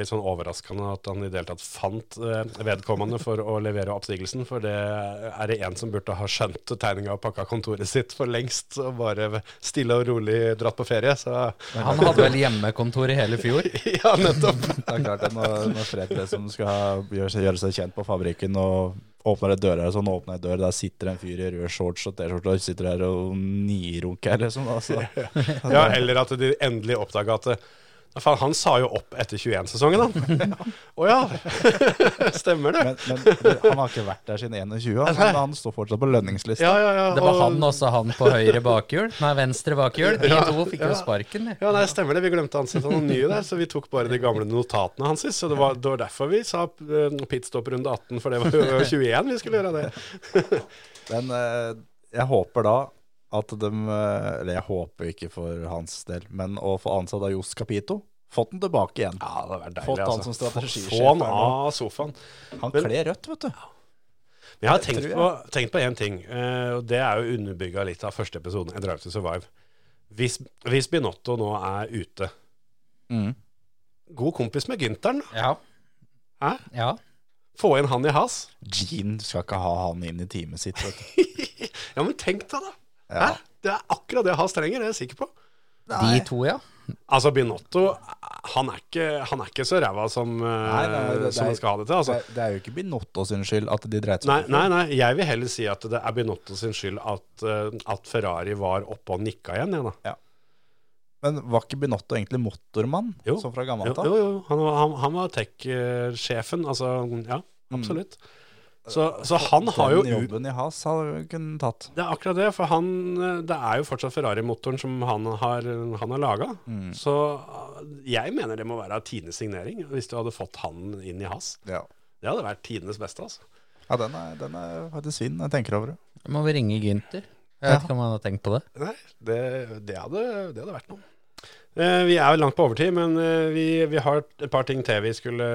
D: litt sånn overraskende at han i det hele tatt fant eh, vedkommende for å levere oppsigelsen, for det er det en som burde ha skjønt tegninga og pakka kontoret sitt for lengst og bare stille og rolig dratt på ferie, så [LAUGHS]
E: Han hadde vel hjemmekontor i hele fjor?
D: Ja, nettopp.
F: Det er klart at når, når Fred liksom skal gjøre seg, gjøre seg kjent på fabrikken og åpner et dør her, sånn åpner et dør, der sitter en fyr i rød shorts og T-skjorte og sitter her og nirunker, liksom. Altså.
D: Ja, eller at de endelig oppdaga at eh, ja, faen, han sa jo opp etter 21-sesongen, han. [LAUGHS] Å ja. Stemmer det.
F: Men, men han har ikke vært der siden 21, han, han står fortsatt på lønningslista.
D: Ja, ja, ja.
E: Det var
D: og-
E: han også, han på høyre bakhjul. Nei, venstre bakhjul. De to fikk jo sparken. de.
D: Ja, nei, stemmer det. Vi glemte å ansette noen nye der, så vi tok bare de gamle notatene hans. Så det var, det var derfor vi sa eh, pitstop runde 18, for det var jo 21 vi skulle gjøre det.
F: Men eh, jeg håper da at de eh, Eller jeg håper ikke for hans del, men å få ansatt av Johs Capito. Fått den tilbake igjen.
D: Ja, det hadde vært deilig,
F: Fått han
D: altså.
F: som strategisjef
D: Få han
F: her nå.
D: av sofaen.
F: Han
D: Men-
F: kler rødt, vet du.
D: Men jeg har
F: Det
D: tenkt
F: tror jeg.
D: på, tenkt på en ting, eh, og det er jo underbygga litt av første episoden, 'A Drive to Survive'. Hvis, hvis Binotto nå er ute Mm. God kompis med Gynteren, da.
E: Ja.
D: Hæ?
E: Ja.
D: Få inn han i has. [LAUGHS]
F: Gene skal ikke ha han inn i teamet sitt, vet du.
D: Ja, men tenk deg det! [LAUGHS] Hæ?
F: Ja.
D: Det er akkurat det has trenger, det er jeg sikker på.
E: De to, ja.
D: Altså, Binotto, han er ikke, han er ikke så ræva som, eh,
F: Nei, nei, det- det er-
D: som han skal ha det til. Altså.
F: Det, det er jo ikke Binotto sin skyld at de dreit
D: Nei,
F: seg
D: nei, nei, jeg vil heller si at det er Binotto sin skyld at, eh, at Ferrari var oppe og nikka igjen. Ja, da.
F: Men var ikke Binotto egentlig motormann,
D: Jo.
F: som fra
D: Jo,
F: gammelt av?
D: jo, jo, han, var- han, han var tech-sjefen. Altså, ja, absolutt. Så, så han har jo
F: Den
D: ut
F: jobben i Has hadde vi kunnet tatt.
D: Det er akkurat det, for han, eh, det er jo fortsatt Ferrari-motoren som han har, han har laga.
F: Mm.
D: Så eh, jeg mener det må være tidenes signering, hvis du hadde fått han inn i has.
F: Ja,
D: Det hadde vært tidenes beste, altså.
F: ja den, er, den er faktisk fin. Jeg tenker over det.
E: Da må vi ringe Gynter. Jeg vet ikke om han har tenkt på det.
D: Nei, det, det, hadde, det hadde vært noe. Eh, Vi er jo langt på overtid, men eh, vi, vi har et par ting til vi skulle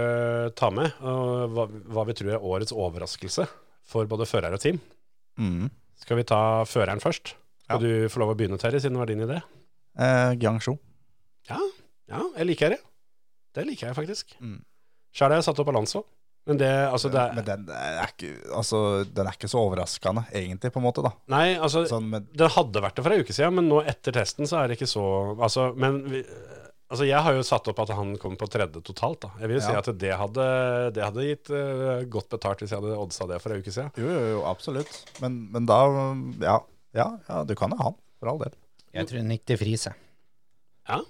D: ta med. Og hva, hva vi tror er årets overraskelse for både fører og team.
F: Mm.
D: Skal vi ta føreren først? Skal du få lov å begynne, Terje, siden det var din idé?
F: Eh, Guangzhou.
D: Ja, ja jeg liker det. Det liker jeg faktisk.
F: Mm.
D: Sjæl har jeg satt opp Alonso. Men det, altså det
F: Men den er, ikke, altså, den er ikke så overraskende, egentlig, på en måte. da
D: Nei, altså
F: sånn, men,
D: Det hadde vært det for ei uke siden, men nå etter testen så er det ikke så Altså, men vi, altså jeg har jo satt opp at han kom på tredje totalt, da. Jeg vil jo si
F: Ja.
D: at det hadde, det hadde gitt eh, godt betalt hvis jeg hadde oddsa det for ei uke siden.
F: Jo, jo, jo, absolutt. Men, men da ja, ja, ja, du kan jo ha han, for all del.
E: Jeg tror han gikk til fris, jeg.
D: Ja.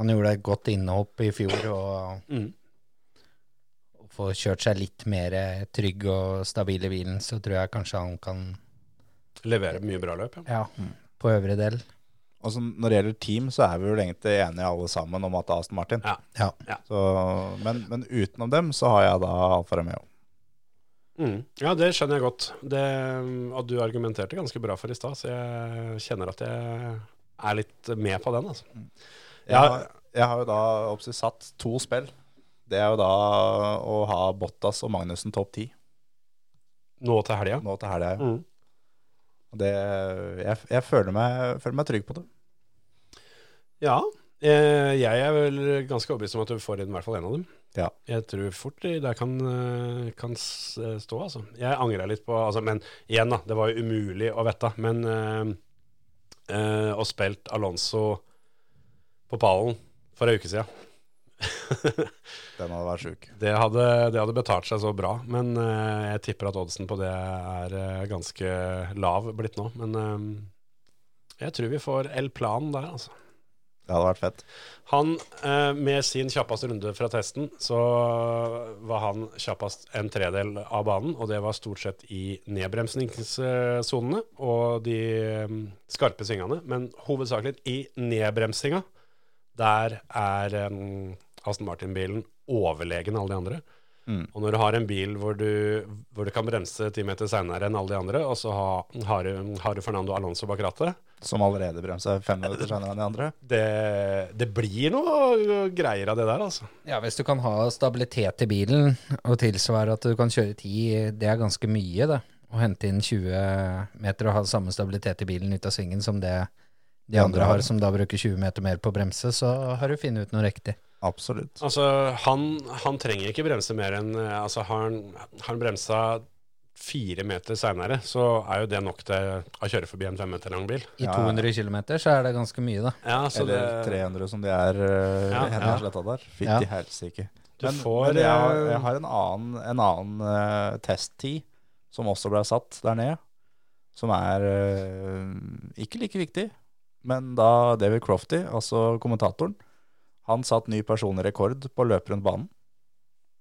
E: Han gjorde et godt innhopp i fjor og
D: Mm.
E: og får kjørt seg litt mer eh, trygg og stabil i bilen, så tror jeg kanskje han kan
D: Leverer mye bra løp, ja.
E: Ja, på øvre del.
F: Og så når det gjelder team, så er vi vel egentlig enige alle sammen om at det er Aston Martin.
D: Ja.
E: Ja.
F: Så, men, men utenom dem så har jeg da Alfa Romeo.
D: Mm. Ja, det skjønner jeg godt. Det, og du argumenterte ganske bra for i stad, så jeg kjenner at jeg er litt med på den, altså.
F: Jeg,
D: Ja.
F: har, jeg har jo da oppsett satt to spill. det er jo da å ha Bottas og Magnussen topp ti
D: Nå til helga.
F: nå til helga.
D: Mm.
F: Og Det, jeg jeg føler, meg, føler meg trygg på det.
D: Ja. eh, Jeg er vel ganske overbevist om at du får inn i hvert fall en av dem.
F: Ja.
D: Jeg tror fort det der kan, eh, kan s- stå, altså. Jeg angra litt på altså, Men igjen, da. Det var jo umulig å vite. Men eh, eh, å spilt Alonso på pallen for ei uke siden [LAUGHS]
F: Den hadde vært sjuk.
D: det hadde, det hadde betalt seg så bra, men eh, jeg tipper at oddsen på det er eh, ganske lav blitt nå. Men eh, jeg tror vi får El Plan der, altså.
F: Det hadde vært fett.
D: Han, eh, med sin kjappeste runde fra testen, så var han kjappest en tredel av banen, og det var stort sett i nedbremsningssonene og de eh, skarpe svingene, men hovedsakelig i nedbremsinga. Der er eh, Aston Martin-bilen overlegen alle de andre.
F: Mm.
D: Og når du har en bil hvor du, hvor du kan bremse ti meter seinere enn alle de andre, og så ha, har, du, har du Fernando Alonso bak rattet,
F: Som allerede bremsa fem
D: [LAUGHS]
F: minutter senere enn de andre.
D: det, det blir noe greier av det der, altså.
E: Ja, hvis du kan ha stabilitet i bilen og tilsvare at du kan kjøre 10, det er ganske mye, det. Å hente inn 20 meter og ha samme stabilitet i bilen ut av svingen som det de andre har, som da bruker 20 meter mer på å bremse, så har du funnet ut noe riktig.
F: Absolutt.
D: Altså, han, han trenger ikke bremse mer enn eh, Altså, har han, har han bremsa fire meter seinere, så er jo det nok til å kjøre forbi en fem meter lang bil.
E: I
F: Ja, ja.
E: 200 km så er det ganske mye, da.
D: Ja, så det,
F: Eller 300 som de er øh,
D: Ja,
F: henne
D: ja.
F: sletta der.
E: Ja.
F: Fytti helsike.
D: du
F: Men,
D: får
F: men jeg, har,
D: eh,
F: jeg har en annen, en annen eh, testtid som også ble satt der nede, som er eh, ikke like viktig. Men da David Crofty, altså kommentatoren, han satt ny personlig rekord på å løpe rundt banen,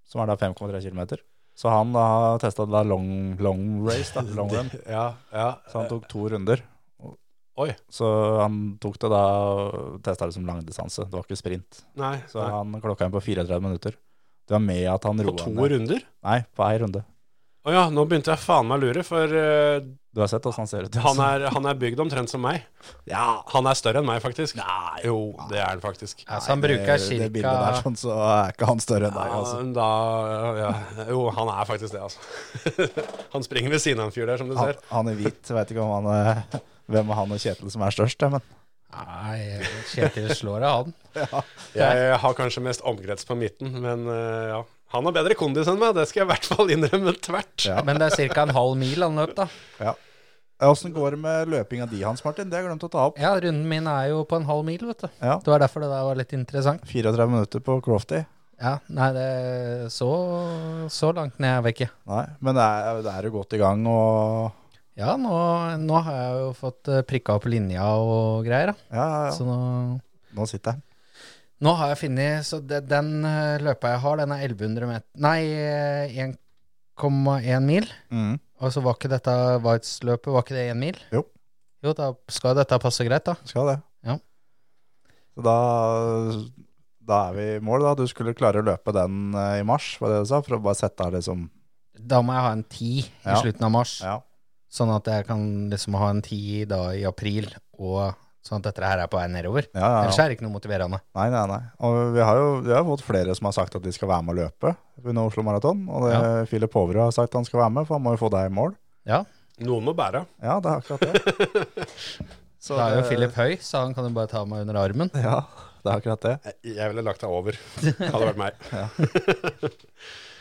F: som er da 5,3 km. Så han har testa da long, long race,
D: [LAUGHS]
F: da, long run.
D: Ja, ja.
F: Så han tok to runder.
D: Oi.
F: Så han tok det da testa det som langdistanse. Det var ikke sprint.
D: Nei,
F: Så
D: nei.
F: han klokka inn på 34 minutter. Det var med at han
D: På
F: roa
D: to
F: ned.
D: runder?
F: Nei, på ei runde.
D: Å ja, nå begynte jeg faen meg å lure, for eh,
F: Du har sett åssen han ser ut.
D: han, er, han er bygd omtrent som meg.
F: Ja,
D: Han er større enn meg, faktisk. Nei, jo, det er han faktisk.
E: Altså, han
F: det-
E: bruker
F: Det bildet der,
E: ca.
F: sånn, så er ikke han større enn deg, altså.
D: Ja, Da, ja. Jo, han er faktisk det, altså. [LAUGHS] han springer ved siden av en fyr der, som du
F: Han,
D: ser.
F: han er hvit. Veit ikke om han er [LAUGHS] Hvem er han og Kjetil som er størst, ja, men
E: Nei, Kjetil slår av han.
D: Jeg har kanskje mest omkrets på midten, men eh, ja. Han har bedre kondis enn meg, det skal jeg i hvert fall innrømme tvert.
F: Ja.
E: Men det er ca. en halv mil han løp, da.
F: Åssen går det med løpinga di, Hans Martin? Det har jeg glemt å ta opp.
E: Ja, runden min er jo på en halv mil, vet du.
F: Ja.
E: Det var derfor det der var litt interessant.
F: 34 minutter på Crofty.
E: Ja, nei, det så, så langt ned er vi ikke.
F: Nei, men det er, det er jo godt i gang, og
E: Ja, nå, nå har jeg jo fått eh, prikka opp linja og greier, da.
F: Ja, ja, ja.
E: Så nå,
F: Nå sitter han.
E: nå har jeg funnet Så det, den eh, løpa jeg har, den er 1100 meter Nei, eh, 1,1 mil.
F: Mm.
E: Og så var ikke dette Waitz-løpet, var ikke det én mil?
F: Jo.
E: Jo, da skal dette passe greit, da.
F: Skal det.
E: Ja.
F: Så da, da er vi i mål, da. Du skulle klare å løpe den eh, i mars, var det du sa? For å bare sette her liksom
E: Da må jeg ha en ti i
F: Ja.
E: slutten av mars,
F: Ja.
E: sånn at jeg kan liksom ha en ti da i april, og sånn at dette her er på vei nedover.
F: Ja, ja,
E: Ellers
F: ja.
E: er det ikke noe motiverende.
F: Nei, nei, nei. Og vi har jo vi har fått flere som har sagt at de skal være med å løpe under Oslo Maraton. Og det, Philip Hoverud har sagt han skal være med, for han må jo få deg i mål.
E: Ja.
D: Noen må bære.
F: Ja, det er akkurat det.
E: [LAUGHS]
F: Så
E: Da er jo
F: det-
E: Philip høy, så han kan jo bare ta meg under armen.
F: Ja, det er akkurat det.
D: Jeg ville lagt deg over. Det hadde vært meg.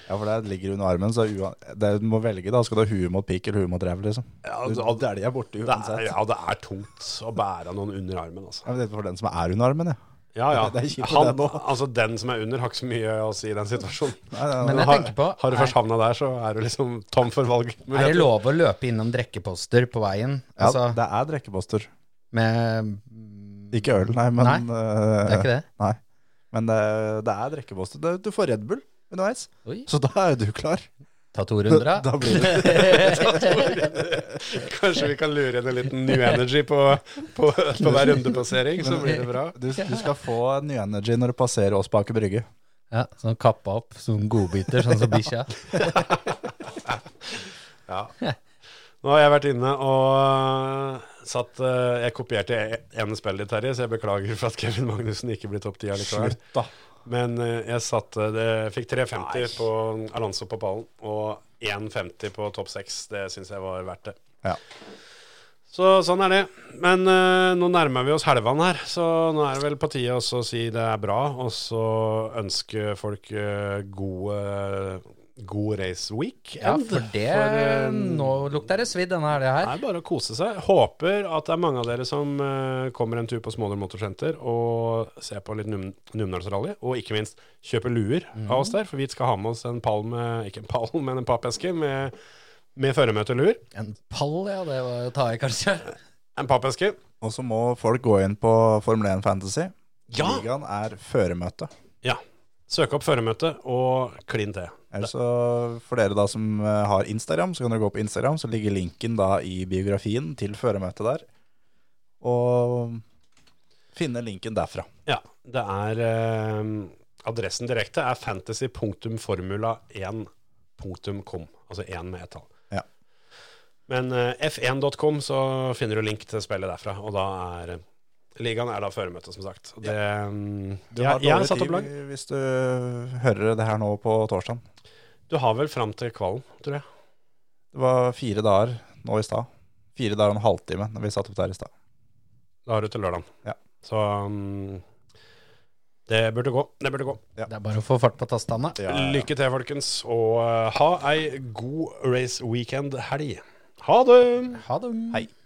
F: Ja, for det ligger under armen, så ua- det, du må velge, da. Skal du ha huet mot pik eller huet mot rev, liksom?
D: [LAUGHS] Ja,
F: Du
D: det-
F: dæljer borti
D: Det er,
F: uansett.
D: ja, det er tungt å bære noen under armen, altså.
F: Ja, men det er for den som er under armen, ja.
D: Ja, [LAUGHS] ja.
F: Det er kjipt med
D: Han,
F: det nå.
D: altså, den som er under, har ikke så mye å si i den [LAUGHS] situasjonen.
F: Nei, nei, nei.
E: Men jeg
D: Har,
E: tenker på
D: har du først havna der, så er du liksom tom for valg.
E: Er det lov å løpe innom drikkeposter på veien?
F: Ja,
E: Altså,
F: det er drikkeposter.
E: med
F: Ikke øl, nei, men eh,
E: Nei, Det er ikke det?
F: Nei. Men det, det er drikkeposter. Det- Du får Red Bull underveis,
E: Oi.
F: så da er du klar.
E: Ta to runder, da.
F: Da blir det
D: [LAUGHS] Kanskje vi kan lure inn en liten New Energy på, på, på hver rundepassering, så blir det bra.
F: du, du skal få ny energy når du passerer oss bak i brygge.
E: Ja, sånn kappa opp, sånn godbiter, sånn som bikkja.
D: [LAUGHS] Nå har jeg vært inne og satt e- eh, Jeg kopierte ene spillet ditt, Terje, så jeg beklager for at Kevin Magnussen ikke blir topp ti allikevel.
F: da.
D: Men eh, jeg satte det Fikk 3,50 på Alonso på pallen og 1,50 på topp 6. Det syns jeg var verdt det.
F: Ja.
D: Så sånn er det. Men eh, nå nærmer vi oss helvene her, så nå er det vel på tide også å si det er bra, og så ønske folk eh, god, eh, god race week.
E: [LAUGHS] Ja,
D: end.
E: for det
D: eh,
E: Nå lukter det svidd denne helga
D: det
E: her.
D: er bare å kose seg. Håper at det er mange av dere som eh, kommer en tur på Småler Motorsenter og ser på litt num Numedalsrally. Og ikke minst kjøper luer av oss der, for vi skal ha med oss en pall med Ikke en pall, [LAUGHS] men en pappeske med, med føremøteluer.
E: En pall, ja. Det var å ta i, kanskje.
D: En pappeske.
F: Og så må folk gå inn på Formel 1 Fantasy.
D: Ja.
F: Ligaen er føremøte.
D: Ja. Søke opp føremøte og klin til.
F: Eller så for dere da som eh, har Instagram, så kan dere gå på Instagram, så ligger linken da i biografien til føremøtet der. Og finne linken derfra.
D: Ja. Det er eh, Adressen direkte er fantasy.formula1.com. Altså én med ett tall.
F: Ja.
D: Men eh, f1.com så finner du link til spillet derfra, og da er Ligaen er da føremøte, som sagt. Og Det, mm,
F: Du
D: jeg,
F: har
D: jeg har
F: dårlig
D: satt opp lag.
F: tid hvis du hører det her nå på torsdag.
D: Du har vel fram til kvalen, tror jeg.
F: Det var fire dager nå i stad. Fire dager og en halvtime når vi satt opp der i stad.
D: Da har du til lørdagen.
F: Ja.
D: Så mm, det burde gå. Det burde gå.
E: Det er bare å få fart på tastene.
D: Lykke til, folkens, og eh, ha ei god race weekend-helg. Ha det!
E: Ha det.
F: Hei.